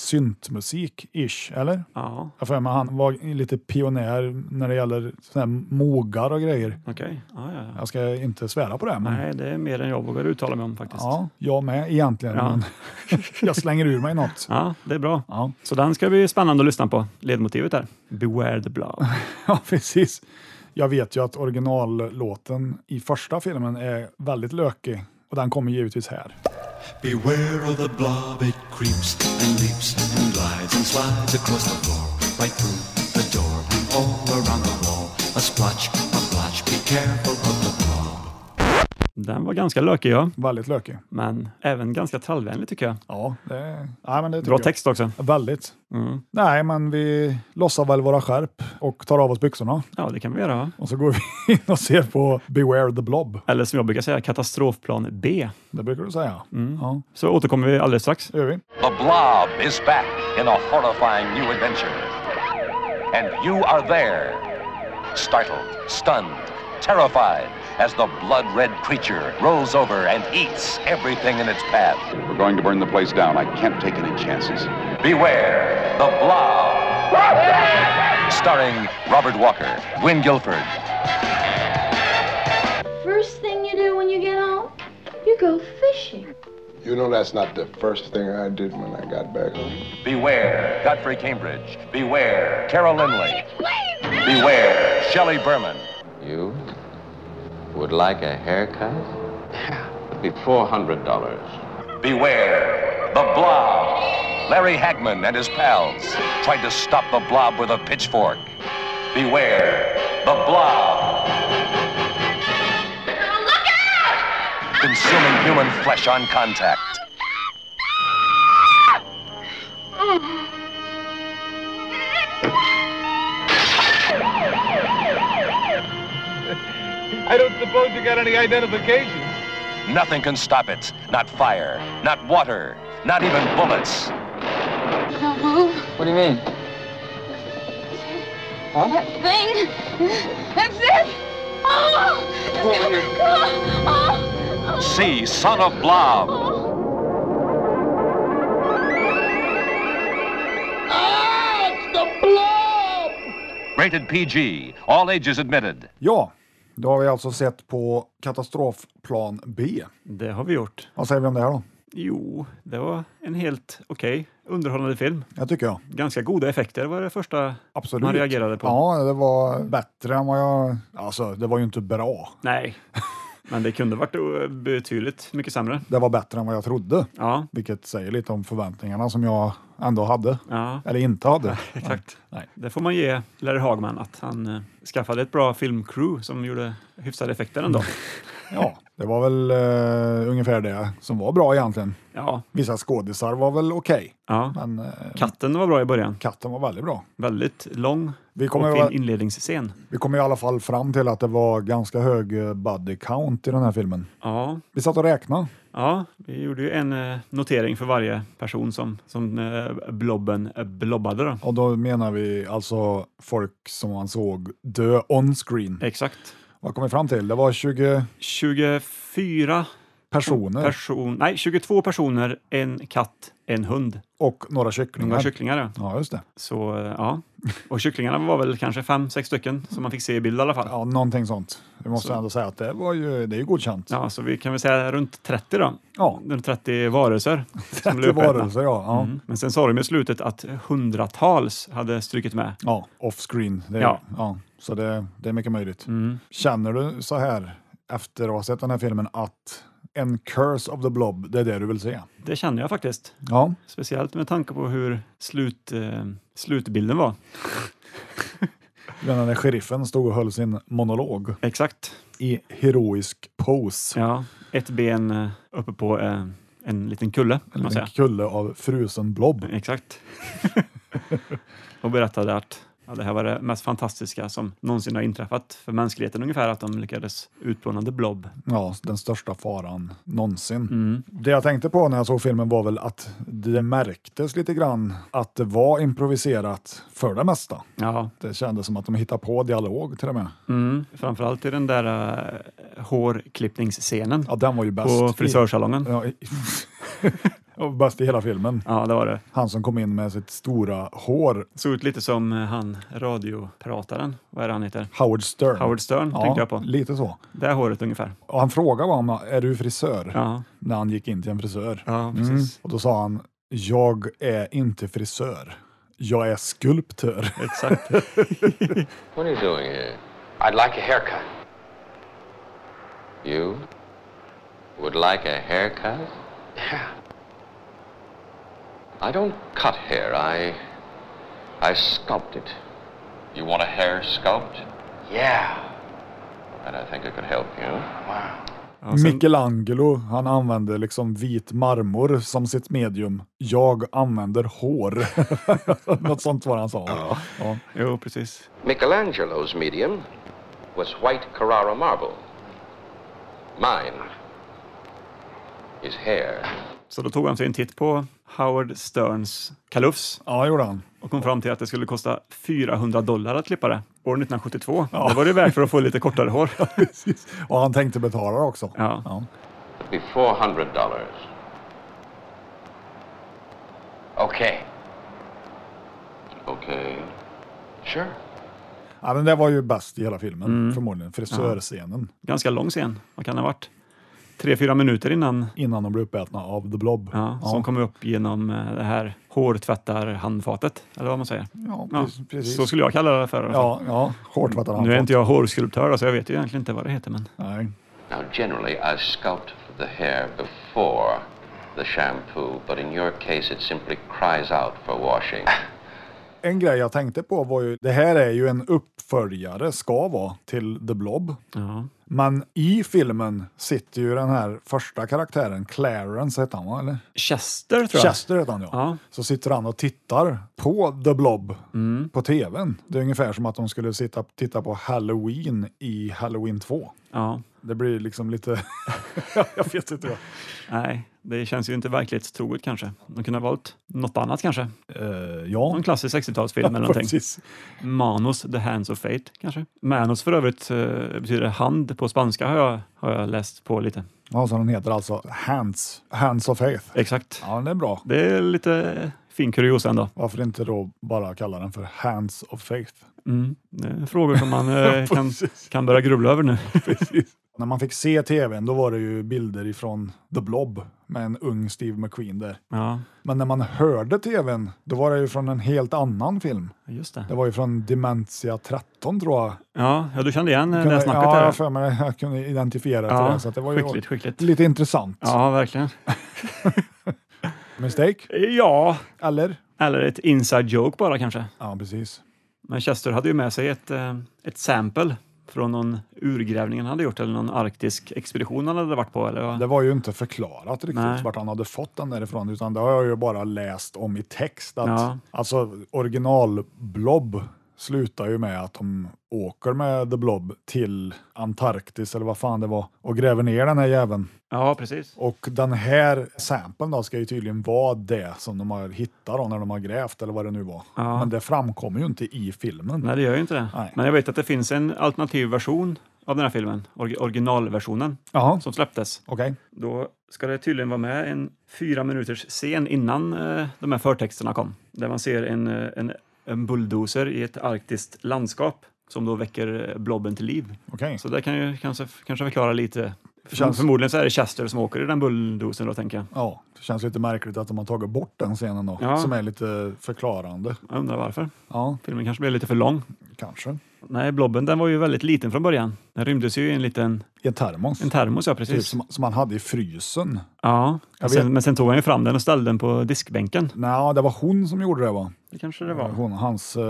syntmusik-ish, eller?
Ja,
Jag får mig han var lite pionjär när det gäller såna här mogar och grejer.
okej. Ja, ja, ja.
Jag ska inte svära på det, men
Mm. Nej, det är mer än jag vågar uttala mig om faktiskt.
Mm. ja, jag med egentligen.
Ja.
Men jag slänger ur mig något.
Ja, det är bra.
Ja,
Så den ska bli spännande att lyssna på, ledmotivet där. Beware the blob.
ja precis. Jag vet ju att originallåten i första filmen är väldigt lökig och den kommer givetvis här.
Beware of the blob, it creeps and leaps and glides and slides across the floor, right through the door, all around the wall. A splotch, a blotch, be careful of the blob.
Den var ganska lökig, ja,
Väldigt lökig.
men även ganska trallvänlig tycker jag.
Ja, det, nej, men det tycker
Bra
jag.
text också.
Väldigt.
Mm.
Nej, men vi lossar väl våra skärp och tar av oss byxorna.
Ja, det kan vi göra. va?
Och så går vi in och ser på Beware the Blob.
Eller som jag brukar säga, katastrofplan B.
Det brukar du säga. Ja,
Så återkommer vi alldeles strax.
det gör vi.
The Blob is back in a horrifying new adventure. and you are there. Startled, stunned, terrified as the blood red creature rolls over and eats everything in its path.
We're going to burn the place down. I can't take any chances.
Beware the Blob. Starring Robert Walker, Gwyn Guilford,
First thing you do when you get home, you go fishing.
You know that's not the first thing I did when I got back home.
Beware Godfrey Cambridge, Beware Carol Linley, Beware Shelley Berman.
You would like a haircut? Yeah. It'd be $400.
Beware the Blob. Larry Hagman and his pals tried to stop the Blob with a pitchfork. Beware the Blob.
Look out!
Consuming human flesh on contact.
I don't suppose you got any identification.
Nothing can stop it. Not fire, not water, not even bullets.
What do you mean?
That thing! That's it! Oh! It's gonna- oh, oh.
See Son of Blob. Rated PG. All ages admitted.
Ja, då har vi alltså sett på katastrofplan B.
Det har vi gjort.
Vad säger vi om det här då?
Jo, det var en helt okej underhållande film.
Jag tycker jag.
Ganska goda effekter var det första
Absolut.
man reagerade på.
Ja, det var bättre än vad jag... Alltså, det var ju inte bra.
Nej, men det kunde varit eh, betydligt mycket sämre.
Det var bättre än vad jag trodde,
Ja,
vilket säger lite om förväntningarna som jag ändå hade.
ja
Eller inte hade.
exakt.
Nej.
Det får man ge Larry Hagman, att han eh, skaffade ett bra filmcrew som gjorde hyfsade effekter ändå.
Mm. Ja, det var väl eh, ungefär det som var bra egentligen.
Ja,
Vissa skådisar var väl okej,
ja.
men eh,
Katten var bra i början.
katten var väldigt bra.
Väldigt lång
Vi kommer,
och
ju-
fin inledningsscen.
vi kommer i alla fall fram till att det var ganska hög eh, body count i den här filmen.
Ja,
Vi satt och räknade.
Ja, vi gjorde ju en eh, notering för varje person som, som eh, blobben eh, blobbade. Då.
Och då menar vi alltså folk som man såg dö on screen.
Exakt.
Vad kom vi fram till? Det var 20
24
personer
personer, nej 22 personer, en katt, en hund.
och några
Några
kycklingar.
kycklingar. Ja.
Ja, just det.
Så eh, ja, och kycklingarna var väl kanske fem, sex stycken som man fick se i bild i alla fall. Ja.
Ja, någonting sånt. Vi måste
Så-
ändå säga att det, var ju, det är ju godkänt.
så vi kan väl säga runt 30 då.
Ja.
Runt 30 varelser. som blev
Det var
uppätna.
det, så ja. ja.
Mm. Men sen sa de i slutet att hundratals hade strykit med.
ja off-screen. Det, ja.
Ja. Mm.
Ja, så det, det är mycket möjligt. Känner du så här efter att ha sett den här filmen att en curse of the blob, det är det du vill se?
Det känner jag faktiskt.
Ja,
Speciellt med tanke på hur slut, eh, slutbilden var.
du menar när sheriffen stod och höll sin monolog
Exakt.
i heroisk pose.
Ja, ett ben eh, uppe på eh, en liten kulle, kan man
en
säga.
kulle av frusen blob.
Exakt. Och berättade att ja, det här var det mest fantastiska som någonsin har inträffat för mänskligheten ungefär, att de lyckades utplåna The Blob.
Ja, den största faran någonsin.
Mm.
Det jag tänkte på när jag såg filmen var väl att det märktes lite grann att det var improviserat för det mesta.
Ja,
Det kändes som att de hittade på dialog till och med.
mm. framförallt i den där eh, hårklippningsscenen
Ja, den var ju bäst.
på
i-
frisörsalongen.
Ja, i- Ja, bäst i hela filmen.
Ja, det var det.
Han som kom in med sitt stora hår,
Såg ut lite som eh, han radioprataren, vad är det han heter?
Howard Stern.
Howard Stern
ja,
tänkte jag på.
Lite så.
Det här håret ungefär.
Och han frågade var han är du frisör?
Ja,
När han gick in till en frisör.
ja precis.
Mm. Och då sa han, jag är inte frisör. Jag är skulptör.
Exakt.
What are you doing here? I'd like a haircut. You would like a haircut? Yeah. I don't cut hair. I I sculpt it. You want a hair sculpt? Yeah. And I think I could help you. Wow.
Ja, sen,
Michelangelo, han använde liksom vit marmor som sitt medium. Jag använder hår. Något sånt var det han sa. Ja.
jo, precis.
Michelangelo's medium was white Carrara marble. Mine is hair.
Så då tog han sig en titt på Howard Sterns kalufs.
Ja, gjorde han.
Och kom fram till att det skulle kosta 400 dollar att klippa det. År 1972. Det var det värt för att få lite kortare hår.
Och han tänkte betala det också.
Ja.
Be four hundred dollars. Okay. Okay. Sure.
Ja, men det var ju bäst i hela filmen,
Mm.
förmodligen. Frisörscenen.
Ganska lång scen. Vad kan det ha varit? Tre, fyra minuter innan
Innan de blev uppätna av The Blob.
Ja, som kom upp genom eh, det här hårtvättarhandfatet, eller vad man säger.
Ja, pre- precis.
Så skulle jag kalla det för. i alla fall.
Ja, ja. Hårtvättarhandfat.
Nu är inte jag hårskulptör, då, så jag vet ju egentligen inte vad det heter. Men
Nej.
Now, generally, I sculpt the hair before the shampoo, but in your case, it simply cries out for washing.
En grej jag tänkte på var ju, det här är ju en uppföljare, ska vara, till The Blob.
ja.
Men i filmen sitter ju den här första karaktären, Clarence heter han va? Eller?
Chester tror jag.
Chester heter han ja.
Ja.
Så sitter han och tittar på The Blob
Mm.
på tvn. Det är ungefär som att de skulle sitta, titta på Halloween i Halloween 2.
ja.
Det blir liksom lite... jag vet inte vad.
Nej, det känns ju inte verklighetstroget kanske. De kunde ha valt något annat kanske.
Eh, ja,
Någon klassisk 60-talsfilm eller någonting.
precis.
Manos, The Hands of Fate kanske. Manos för övrigt eh, betyder hand på spanska har jag, har jag läst på lite.
Ja, så den heter alltså Hands, Hands of Faith.
Exakt.
Ja, det är bra.
Det är lite fin kuriosa ändå.
Varför inte då bara kalla den för Hands of Faith?
Mm. Det är frågor som man eh, kan, kan börja grubbla över nu.
När man fick se tvn då var det ju bilder ifrån The Blob med en ung Steve McQueen där.
Ja,
Men när man hörde tvn då var det ju från en helt annan film.
just
Det
det.
var ju från Dementia 13 tror jag.
Ja, ja du kände igen eh, det här
Kunde-
snacket
ja,
där.
jag för mig jag kunde identifiera till
Ja,
det. Så att det var ju
skickligt, skickligt.
lite intressant.
Ja, verkligen.
Mistake?
Ja,
Eller?
eller ett inside joke bara kanske.
Ja, precis.
Men Chester hade ju med sig ett, eh, ett sample från någon urgrävning han hade gjort eller någon arktisk expedition han hade varit på. Eller? vad?
Det var ju inte förklarat riktigt
Nej.
vart han hade fått den därifrån, utan det har jag ju bara läst om i text. Att,
Ja.
Alltså original-Blob slutar ju med att de åker med The Blob till Antarktis eller vad fan det var och gräver ner den här jäveln.
Ja, precis.
Och den här samplen då ska ju tydligen vara det som de har hittat då när de har grävt eller vad det nu var.
Ja.
Men det framkommer ju inte i filmen.
Nej, det gör ju inte det.
Nej.
Men jag vet att det finns en alternativ version av den här filmen, orgi- originalversionen,
Jaha,
som släpptes.
okej.
Då ska det tydligen vara med en fyra minuters scen innan eh, de här förtexterna kom. Där man ser en, eh, en, en bulldozer i ett arktiskt landskap som då väcker eh, blobben till liv.
okej.
Så det kan ju kanske, kanske förklara lite.
Mm. Känns-
Förmodligen så är det Chester som åker i den bulldozern då, tänker jag.
Ja, det känns lite märkligt att de har tagit bort den scenen då,
Ja.
som är lite förklarande.
Jag undrar varför.
Ja,
Filmen kanske blev lite för lång.
kanske.
Nej, blobben den var ju väldigt liten från början. Den rymdes ju i en liten
I en termos.
en termos, ja
typ,
precis.
som, som han hade i frysen.
Ja,
Jag vet.
sen, men sen tog han ju fram den och ställde den på diskbänken.
Nej, det var hon som gjorde det va?
Det kanske det var.
Hon, hans eh,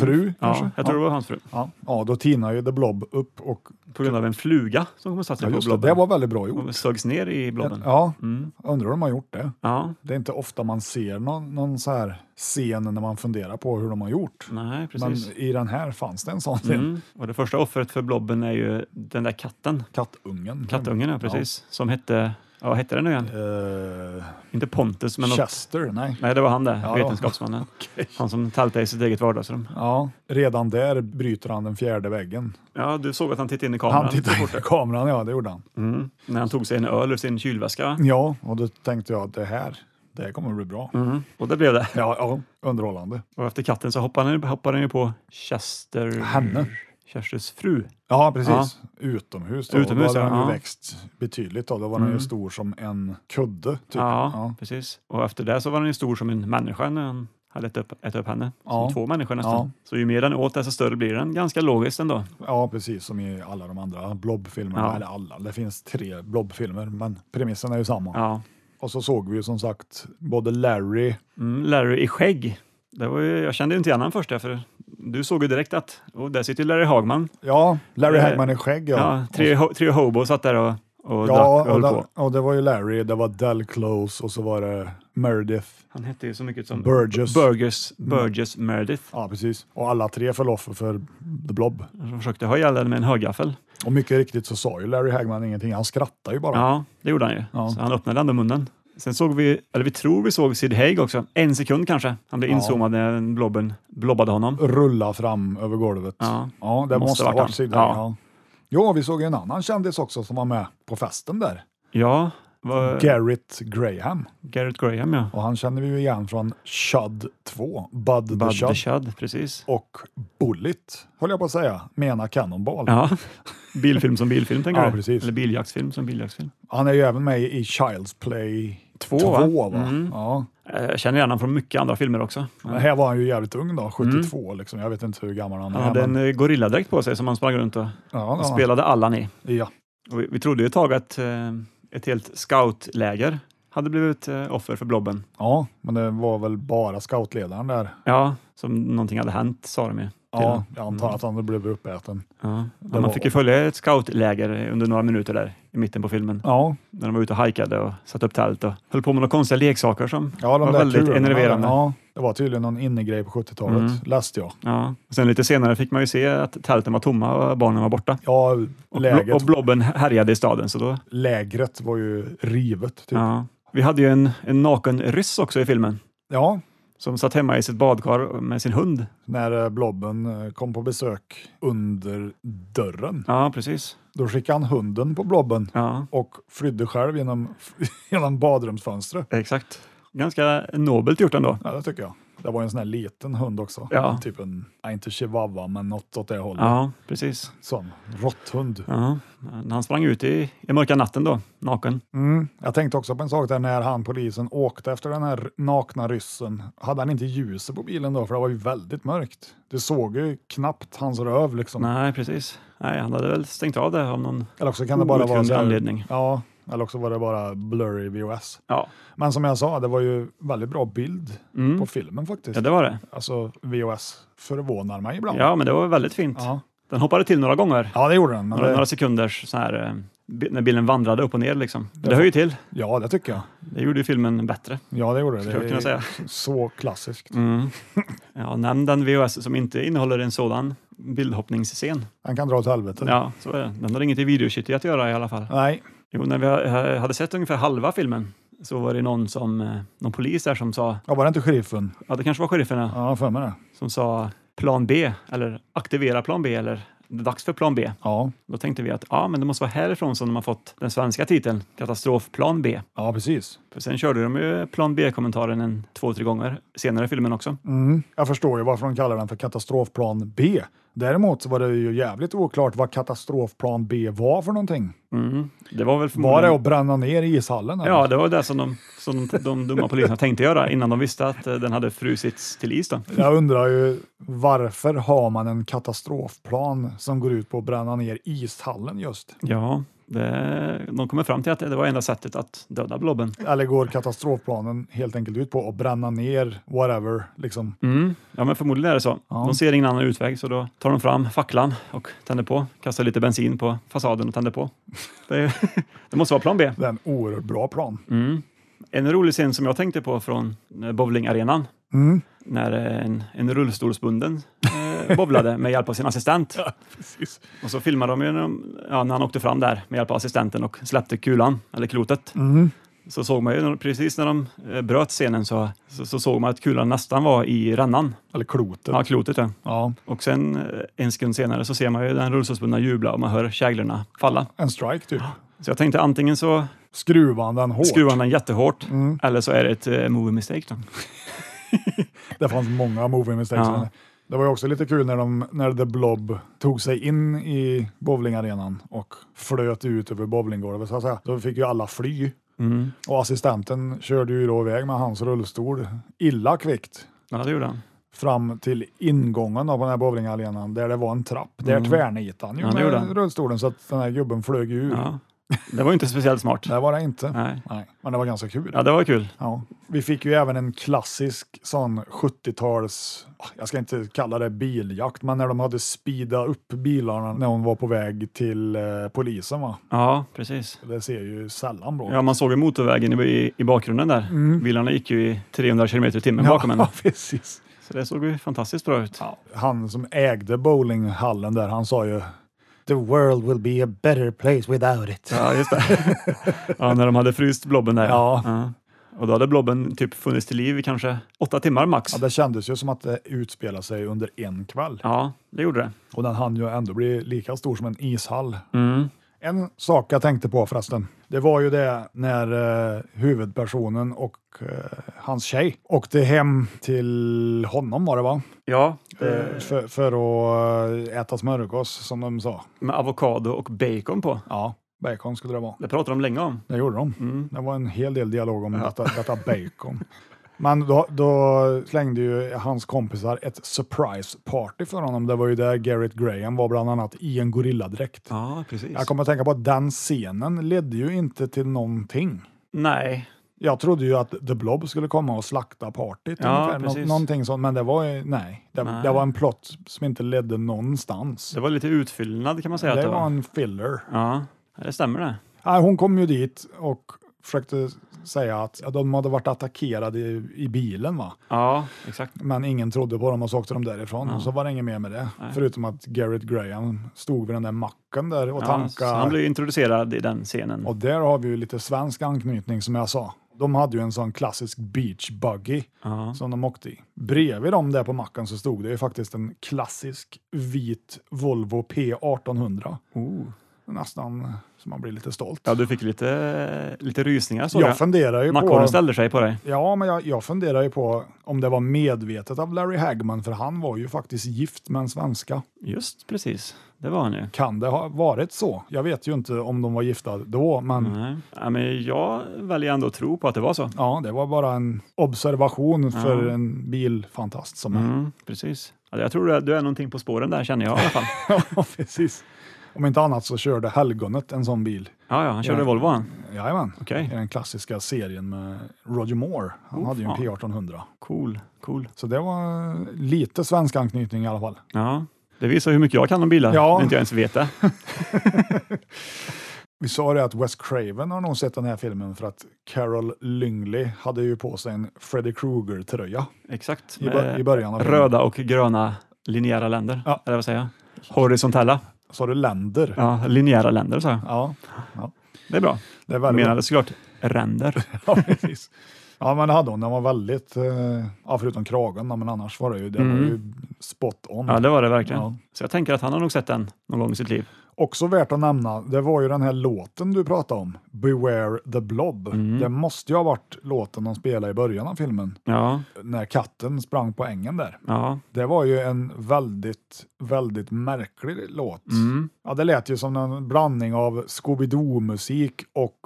fru.
ja,
kanske?
jag tror det
ja.
var hans fru.
Ja. ja, då tinade ju The Blob upp och
På grund av en fluga som kom och satte
ja,
sig på
just det,
blobben.
det var väldigt bra gjort.
Och sögs ner i blobben. Mm. Ja.
Ja, undrar hur de har gjort det.
ja,
Det är inte ofta man ser någon, någon så här scen när man funderar på hur de har gjort.
nej
Men
precis.
i den här fanns det en sån scen.
Mm. Och det första offret för blobben är ju den där
Mm.
katten.
Kattungen.
Kattungen, ja precis. Som hette, ja, vad hette den nu igen?
Eh,
Inte Pontus, men något.
Chester, nej.
Nej, det var han där,
Ja,
vetenskapsmannen. Han som tältade i sitt eget vardagsrum.
Ja, redan där bryter han den fjärde väggen.
Ja, du såg att han tittade in i kameran.
Han tittade in i kameran, ja det gjorde han.
Mm. När han tog sig en öl ur sin kylväska.
Ja, och då tänkte jag att det här, det här kommer att bli bra.
Mm. Och det blev det.
Ja, ja, underhållande.
Och efter katten så hoppade han, hoppade han ju på Chester...
Henne.
Chesters fru.
Ja, precis. Utomhus. Då.
Utomhus,
då hade
ja,
den ju
ja. Mm.
växt betydligt. Då, då var den ju stor som en kudde. Typ.
Ja,
Ja.
precis. Och efter det så var den ju stor som en människa när han hade ätit upp, ätit upp henne. Som
Ja.
två människor nästan.
Ja.
Så ju mer den åt desto större blir den. Ganska logiskt ändå.
ja, precis som i alla de andra blobfilmerna.
Ja.
Eller alla, det finns tre blobfilmer, men premissen är ju samma.
Ja.
Och så såg vi ju som sagt både Larry,
Mm, Larry i skägg. Det var ju, jag kände ju inte igen honom först där, för du såg ju direkt att och där sitter ju Larry Hagman.
ja, Larry
Eh,
Hagman i skägg. Ja.
Ja. tre, ho, tre hobo satt där och, och drack
Ja,
och
och,
höll
det,
på.
och det var ju Larry, det var Del Close och så var det Meredith.
Han hette ju så mycket som
Burgess.
Mm. Burgess, Burgess Meredith.
Ja, precis. Och alla tre föll offer för The Blob.
Som försökte ha ihjäl den med en högaffel.
Och mycket riktigt så sa ju Larry Hagman ingenting, han skrattade ju bara.
Ja, det gjorde han ju.
Ja.
Så han öppnade ändå munnen. Sen såg vi, eller vi tror vi såg Sid Haig också. En sekund kanske. Han blev
Ja.
inzoomad när blobben blobbade honom.
Rulla fram över golvet.
Ja,
Ja, det måste, ha varit
han.
Sid Haig,
Ja.
Ja. ja, vi såg ju en annan kändis också som var med på festen där.
Ja, vad-
Garrett Graham.
Garrett Graham ja.
Och han känner vi ju igen från Shud 2, Bud, the
Bud
Shud.
the Shud, precis.
Och Bullet, höll jag på att säga. Mena Cannonball.
Ja. Bilfilm som bilfilm tänker
Ja,
du?
precis.
Eller biljaktsfilm som biljaktsfilm.
Han är ju även med i Child's Play 2.
va?
va?
Mm.
Ja.
Eh, Jag känner igen honom från mycket andra filmer också.
Men här var han ju jävligt ung
Mm.
då, 72 liksom. Jag vet inte hur gammal han,
Han
är.
hade
men-
en eh, gorilladräkt på sig som han sprang runt och,
ja,
och
ja.
spelade Allan i.
Ja.
Och vi, vi trodde ju ett tag att eh, ett helt scoutläger hade blivit eh, offer för blobben.
ja, men det var väl bara scoutledaren där.
Ja, som någonting hade hänt sa de ju. till
Ja,
honom.
jag antar att han blev uppäten.
Ja. Ja,
Det
man
var-
fick ju följa ett scoutläger under några minuter där i mitten på filmen.
Ja,
När de var ute och hajkade och satte upp tält och höll på med några konstiga leksaker som
ja de
var
där
väldigt
kulorna,
enerverande.
Ja, det var tydligen någon innegrej på 70-talet,
Mm.
läste jag.
Ja. Och sen lite senare fick man ju se att tälten var tomma och barnen var borta.
Ja,
Och,
läget,
blo- och blobben härjade i staden. Så då,
lägret var ju rivet. Typ. Ja.
ja. Vi hade ju en, en naken ryss också i filmen som satt hemma i sitt badkar med sin hund.
när eh, blobben eh, kom på besök under dörren.
Ja, precis.
Då skickade han hunden på blobben
Ja,
och flydde själv genom, genom badrumsfönstret.
exakt. Ganska nobelt gjort ändå.
Ja, det tycker jag. Det var en sån här liten hund också.
Ja.
Typ en, ja, inte chihuahua, men något åt det hållet.
Ja, precis.
Sån råtthund.
Ja. När han sprang ut i, i mörka natten då, naken.
Mm. Jag tänkte också på en sak där när han polisen åkte efter den här nakna ryssen. Hade han inte ljuset på bilen då? För det var ju väldigt mörkt. Du såg ju knappt hans röv liksom.
Nej, precis. Nej, han hade väl stängt av det av någon
Eller också kan det bara vara
outgrundlig
så här-
anledning.
Ja, eller också var det bara blurry VOS.
Ja.
Men som jag sa, det var ju väldigt bra bild
Mm.
på filmen faktiskt.
ja, det var det.
Alltså VOS förvånar mig ibland.
Ja, men det var väldigt fint.
ja.
Den hoppade till några gånger.
Ja, det gjorde den. Men
Några,
det,
några sekunders så här, eh, bi- när bilen vandrade upp och ner liksom. Det hör ju till.
ja, det tycker jag.
Det gjorde ju filmen bättre,
Ja, det gjorde det.
skulle jag
Det
kunna
är
säga.
så klassiskt.
Mm. Ja, nämn den VHS som inte innehåller en sådan bildhoppningsscen.
Han kan dra åt helvete.
Ja, så är det. Den har inget i videokitty att göra i alla fall.
Nej,
Jo, när vi ha- hade sett ungefär halva filmen så var det någon, som, eh, någon polis där som sa,
jag var det inte sheriffen?
ja det kanske var sherifferna,
Ja, jag har för mig det.
som sa plan B eller aktivera plan B eller det är dags för plan B.
Ja,
Då tänkte vi att ja, men det måste vara härifrån som de har fått den svenska titeln, katastrofplan B.
ja precis.
För sen körde de ju plan B-kommentaren en två, tre gånger senare i filmen också.
Mm. Jag förstår ju varför de kallar den för katastrofplan B. Däremot så var det ju jävligt oklart vad katastrofplan B var för någonting.
Mm. Det var väl
Var
förmodligen...
det att bränna ner ishallen? eller?
Ja, det var det som de, som de, de dumma poliserna tänkte göra innan de visste att eh, den hade frusits till is. Då.
Jag undrar ju varför har man en katastrofplan som går ut på att bränna ner ishallen just?
Ja, det, de kommer fram till att det var enda sättet att döda blobben.
Eller går katastrofplanen helt enkelt ut på att bränna ner whatever? Liksom.
Mm. Ja, men förmodligen är det så.
Ja.
De ser ingen annan utväg så då tar de fram facklan och tänder på, kastar lite bensin på fasaden och tänder på. Det, det måste vara plan B.
Det är en oerhört bra plan.
Mm. En rolig scen som jag tänkte på från eh, bowlingarenan
Mm.
när eh, en, en rullstolsbunden eh, bowlade med hjälp av sin assistent.
Precis.
Och så filmade de ju när, de, ja, när han åkte fram där med hjälp av assistenten och släppte kulan, eller klotet.
Mm.
Så såg man ju, när de- precis när de eh, bröt scenen så, så, så såg man att kulan nästan var i rännan.
Eller klotet.
Ja, klotet ja.
Ja.
Och sen eh, en sekund senare så ser man ju den rullstolsbundna jubla och man hör käglorna falla.
En strike typ.
Så jag tänkte antingen så
Skruvar han den hårt?
skruvar han den jättehårt
Mm.
eller så är det ett eh, movie mistake. Då.
Det fanns många movie mistakes.
Ja.
Det var ju också lite kul när, de, när The Blob tog sig in i bowlingarenan och flöt ut över bowlinggolvet. Så att säga. Då fick ju alla fly.
Mm.
Och assistenten körde ju då iväg med hans rullstol illa kvickt
Ja, det gjorde han.
fram till ingången då på den här bowlingarenan där det var en trapp. Där tvärnitade han ju
Mm. Ja, det gjorde
med
han.
rullstolen så att den här gubben flög ju ur.
Ja. Det var ju inte speciellt smart.
Det var det inte.
Nej.
Men det var ganska kul.
Ja, det var kul.
Ja. Vi fick ju även en klassisk sån 70-tals, jag ska inte kalla det biljakt, men när de hade speeda upp bilarna när hon var på väg till eh, polisen. Va?
Ja, precis.
Det ser ju sällan bra ut.
Ja, man såg ju motorvägen i, i bakgrunden där. Bilarna gick ju i 300 kilometer i timmen bakom henne.
Mm. Ja, precis.
Så det såg ju fantastiskt bra ut.
Han som ägde bowlinghallen där, han sa ju The world will be a better place without it.
Ja, just det. ja, när de hade fryst blobben där.
Ja.
ja. Och då hade blobben typ funnits till liv i kanske åtta timmar max.
Ja, det kändes ju som att det utspelade sig under en kväll.
Ja, det gjorde det.
Och den hann ju ändå bli lika stor som en ishall.
Mm.
En sak jag tänkte på förresten, det var ju det när eh, huvudpersonen och eh, hans tjej åkte hem till honom var det va?
Ja,
Eh, för, för att eh, äta smörgås som de sa.
med avokado och bacon på.
Ja, bacon skulle det vara.
Det pratade de länge om.
Det gjorde de.
Mm.
Det var en hel del dialog om detta, detta bacon. Men då, då slängde ju hans kompisar ett surprise party för honom. Det var ju där Garrett Graham var bland annat i en gorilladräkt.
Ja, precis.
Jag kommer att tänka på att den scenen ledde ju inte till någonting.
Nej,
Jag trodde ju att The Blob skulle komma och slakta partyt,
Ja,
ungefär. Nå-
precis.
någonting sånt. Men det var ju, nej. Det,
Nej.
det var en plott som inte ledde någonstans.
det var lite utfyllnad kan man säga.
Det,
att
var en filler.
Ja, det stämmer det.
Nej, hon kom ju dit och försökte säga att ja, de hade varit attackerade i, i bilen, va?
Ja, exakt.
men ingen trodde på dem och så åkte de därifrån. Och så var det inget mer med det, förutom att Garrett Graham stod vid den där macken där och
Ja, så
tankade.
han blev ju introducerad i den scenen.
Och där har vi ju lite svensk anknytning som jag sa. De hade ju en sån klassisk beach buggy
Ja.
som de åkte i. Bredvid dem där på macken så stod det ju faktiskt en klassisk vit Volvo P1800.
Oh.
Nästan så man blir lite stolt.
ja, du fick lite, lite rysningar såg
jag
jag.
funderar ju
Nackåren
på...
ställde sig på dig.
Ja, men jag, jag funderar ju på om det var medvetet av Larry Hagman, för han var ju faktiskt gift med en svenska.
Just precis, det var han ju.
Kan det ha varit så? Jag vet ju inte om de var gifta då, men
Nej. Ja, men jag väljer ändå att tro på att det var så.
ja, det var bara en observation för en bilfantast som jag.
Mm, precis. Ja, jag tror att du är någonting på spåren där känner jag i alla fall.
Ja, precis. Om inte annat så körde helgonet en sån bil.
Ja, ja han körde
Ja.
Volvo han.
Jajamän,
Okej,
i den klassiska serien med Roger Moore. Han
Oh,
hade ju en
fan.
P1800.
cool, cool.
Så det var eh, lite svensk anknytning i alla fall.
Ja, det visar hur mycket jag kan om bilar.
Ja.
När inte jag ens vet det.
Vi sa det att Wes Craven har nog sett den här filmen för att Carol Lyngley hade ju på sig en Freddy Krueger-tröja
Exakt.
i, bör- i
med
början av filmen.
Röda och gröna linjära länder.
Ja.
Eller vad säger jag? Horisontella.
Sa du länder? Ja.
Ja, linjära länder sa jag.
ja.
Det är bra.
Det är
Jag
väldigt
menade såklart ränder.
Ja, precis. Ja, men det hade hon. Den var väldigt, eh, ja, förutom kragen, då, men annars var det ju, det var
Mm.
ju spot on.
Ja, det var det verkligen.
Ja.
Så jag tänker att han har nog sett den någon gång i sitt liv.
Också värt att nämna, det var ju den här låten du pratade om, Beware the Blob.
Mm.
Det måste ju ha varit låten de spelade i början av filmen,
Ja,
när katten sprang på ängen där.
ja.
Det var ju en väldigt, väldigt märklig låt.
Mm.
Ja, det lät ju som en blandning av Scooby-Doo-musik och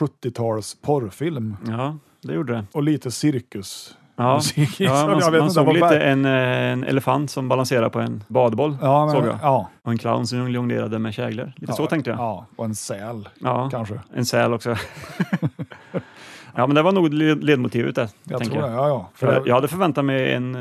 70-tals porrfilm
ja det gjorde det.
och lite cirkus.
Ja.
Musik.
Ja,
Så
man,
jag vet
man
inte, det
såg
var
lite
väl-
en, eh, en elefant som balanserade på en badboll.
Ja,
såg
men,
jag.
ja.
Och en clown som jonglerade med käglor. Lite så
Ja,
tänkte jag.
Ja, och en säl
Ja,
kanske.
En säl också. ja, men det var nog led- ledmotivet där.
Jag
tänker
tror det,
jag.
ja. ja.
För
det-
jag hade förväntat mig en,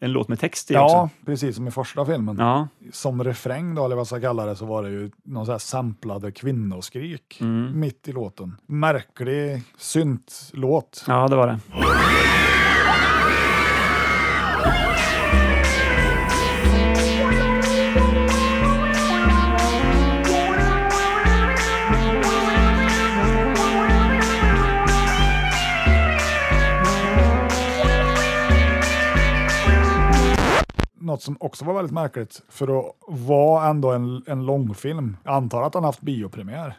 en, låt med text i
ja
också.
precis som i första filmen.
Ja,
Som refräng då, eller vad jag ska kalla det, så var det ju någon så här samplade kvinnoskrik
Mm.
mitt i låten. Märklig syntlåt.
ja, det var det.
Något som också var väldigt märkligt, för att vara ändå en, en långfilm. Jag antar att han haft biopremiär.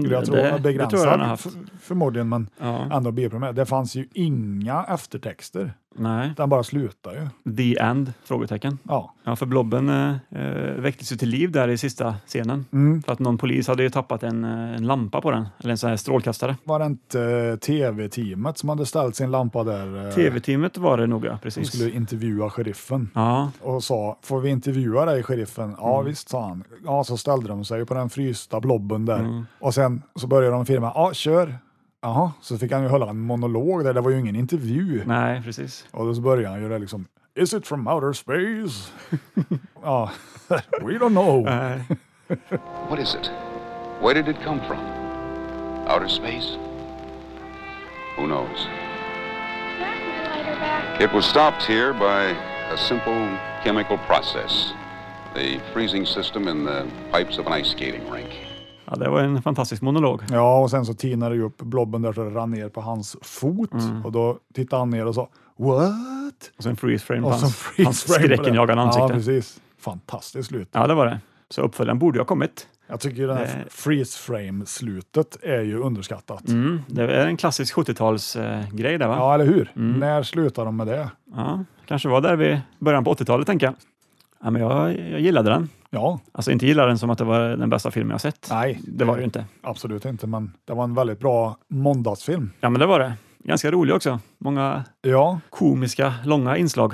Skulle jag tro.
Mm, det- det tror jag
Begränsad
han har haft.
f- förmodligen, men
Ja.
ändå biopremiär. Det fanns ju inga eftertexter.
Nej.
Den bara slutade ju.
The End? Frågetecken.
Ja.
Ja, för blobben eh, eh, väcktes ju till liv där i sista scenen.
Mm.
För att någon polis hade ju tappat en, eh, en lampa på den, eller en sån här strålkastare.
Var det inte eh, tv-teamet som hade ställt sin lampa där? eh,
Tv-teamet var det nog, ja.
Som
Precis.
skulle intervjua sheriffen
Ja, Mm.
och sa, får vi intervjua dig sheriffen? Ja visst, sa han. Ja, så ställde de sig på den frysta blobben där
Mm.
och sen så började de filma. Ja, kör. Jaha, så fick han ju hålla en monolog där, det var ju ingen intervju.
nej, precis.
Och då så började han ju det liksom, is it from outer space? ja, we don't know.
Nej.
What is it? Where did it come from? Outer space? Who knows? It was stopped here by a simple chemical process the freezing system in the pipes of an ice skating rink.
Ja, det var en fantastisk monolog.
Ja, och sen så tinade ju upp blobben där så det rann ner på hans fot
Mm.
och då tittade han ner och sa What?
Och sen freeze frame på
Och så
hans,
freeze
hans
frame på det.
skräckinjagande
Ja,
ansikte.
precis. Fantastiskt slut.
Ja, det var det. Så uppföljaren borde ju ha kommit.
Jag tycker ju den här
Eh.
freeze frame-slutet är ju underskattat.
Mm, det är en klassisk 70-talsgrej där va?
Ja, eller hur?
Mm.
När slutar de med det?
Ja, kanske var där vid början på 80-talet, tänker jag. Ja, men jag, jag gillade den.
Ja,
Alltså inte gillade den som att det var den bästa filmen jag sett.
nej,
Det var det ju inte.
absolut inte, men det var en väldigt bra måndagsfilm.
Ja, men det var det. Ganska rolig också. Många
Ja,
komiska, långa inslag.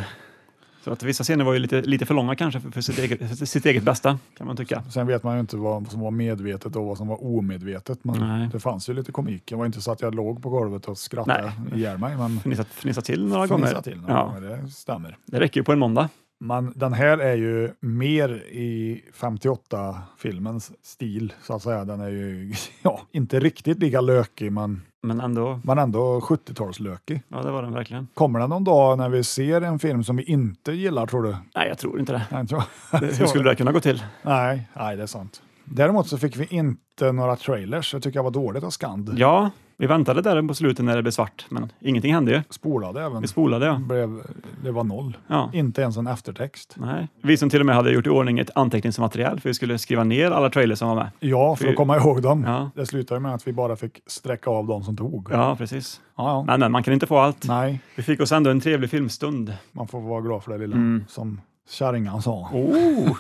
Så att vissa scener var ju lite, lite för långa kanske för, för, sitt, eget, för sitt eget bästa, kan man tycka.
sen vet man ju inte vad som var medvetet och vad som var omedvetet, men
Nej.
det fanns ju lite komik. Det var inte så att jag låg på golvet och skrattade ihjäl mig, men
Fnissat, fnissat till några
fnissade
gånger.
till några
ja,
gånger, det stämmer.
Det räcker ju på en måndag.
Men den här är ju mer i 58-filmens stil, så att säga. Den är ju ja, inte riktigt lika lökig, men,
Men ändå,
men ändå 70-talslökig.
ja det var den verkligen.
Kommer det någon dag när vi ser en film som vi inte gillar, tror du?
Nej, jag tror inte det.
Nej, inte jag.
det hur skulle det kunna gå till?
nej, nej, det är sant. Däremot så fick vi inte några trailers. Det tycker jag var dåligt av Skand.
Ja, vi väntade där på slutet när det blev svart, men ingenting hände ju.
Spolade även.
Vi spolade ja.
Blev, det var noll.
ja.
Inte ens en eftertext.
Nej. Vi som till och med hade gjort i ordning ett anteckningsmaterial för vi skulle skriva ner alla trailers som var med.
Ja, för att komma ihåg dem.
Ja,
Det slutade med att vi bara fick sträcka av de som tog.
ja precis.
Ja, ja.
Men, men man kan inte få allt.
Nej,
Vi fick oss ändå en trevlig filmstund.
man får vara glad för det lilla
Mm.
som kärringan sa.
Oh.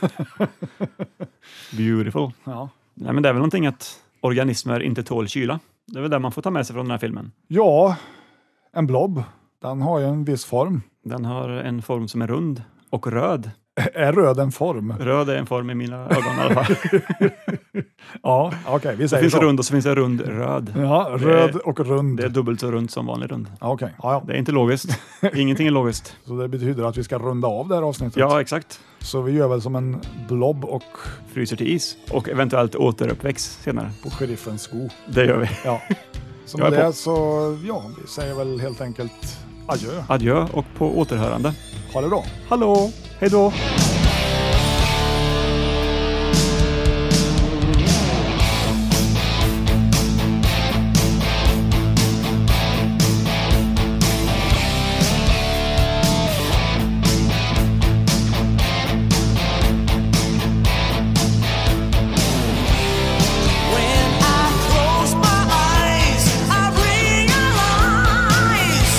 Beautiful.
Ja.
Nej, men det är väl någonting att organismer inte tål kyla. Det är väl det man får ta med sig från den här filmen.
ja, en blob. Den har ju en viss form.
Den har en form som är rund och röd.
Är röd en form?
Röd är en form i mina ögon i alla fall.
Ja, okej, vi
Det
säger
finns
så.
rund och så finns det rund röd.
Ja, röd och rund.
Det är dubbelt så runt som vanlig rund.
Ja, Okej, ja, ja.
Det är inte logiskt. Ingenting är logiskt.
så det betyder att vi ska runda av det här avsnittet.
Ja, exakt.
Så vi gör väl som en blob och
fryser till is och eventuellt återuppväcks senare.
på sheriffens sko.
Det gör vi.
Ja. Så
Jag
med
är på.
det så, ja, vi säger väl helt enkelt adjö.
Adjö och på återhörande.
Ha det bra.
Hallå! Hej då!
When I close my eyes, I realize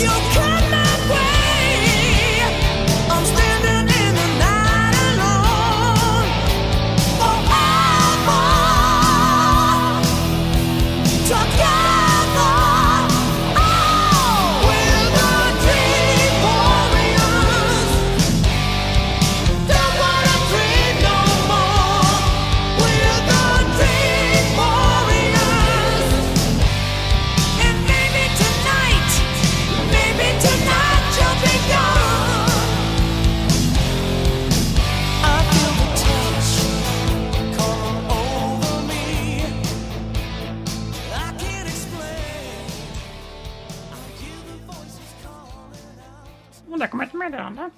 you come my way. I'm standing in the night alone forever, together. Oh, we're the dream warriors. Don't wanna dream no more. We're the dream warriors. And maybe tonight, maybe tonight you'll be gone. I feel the touch come over me. I can't explain. I hear the voices calling out.
Och där kommer ett meddelande.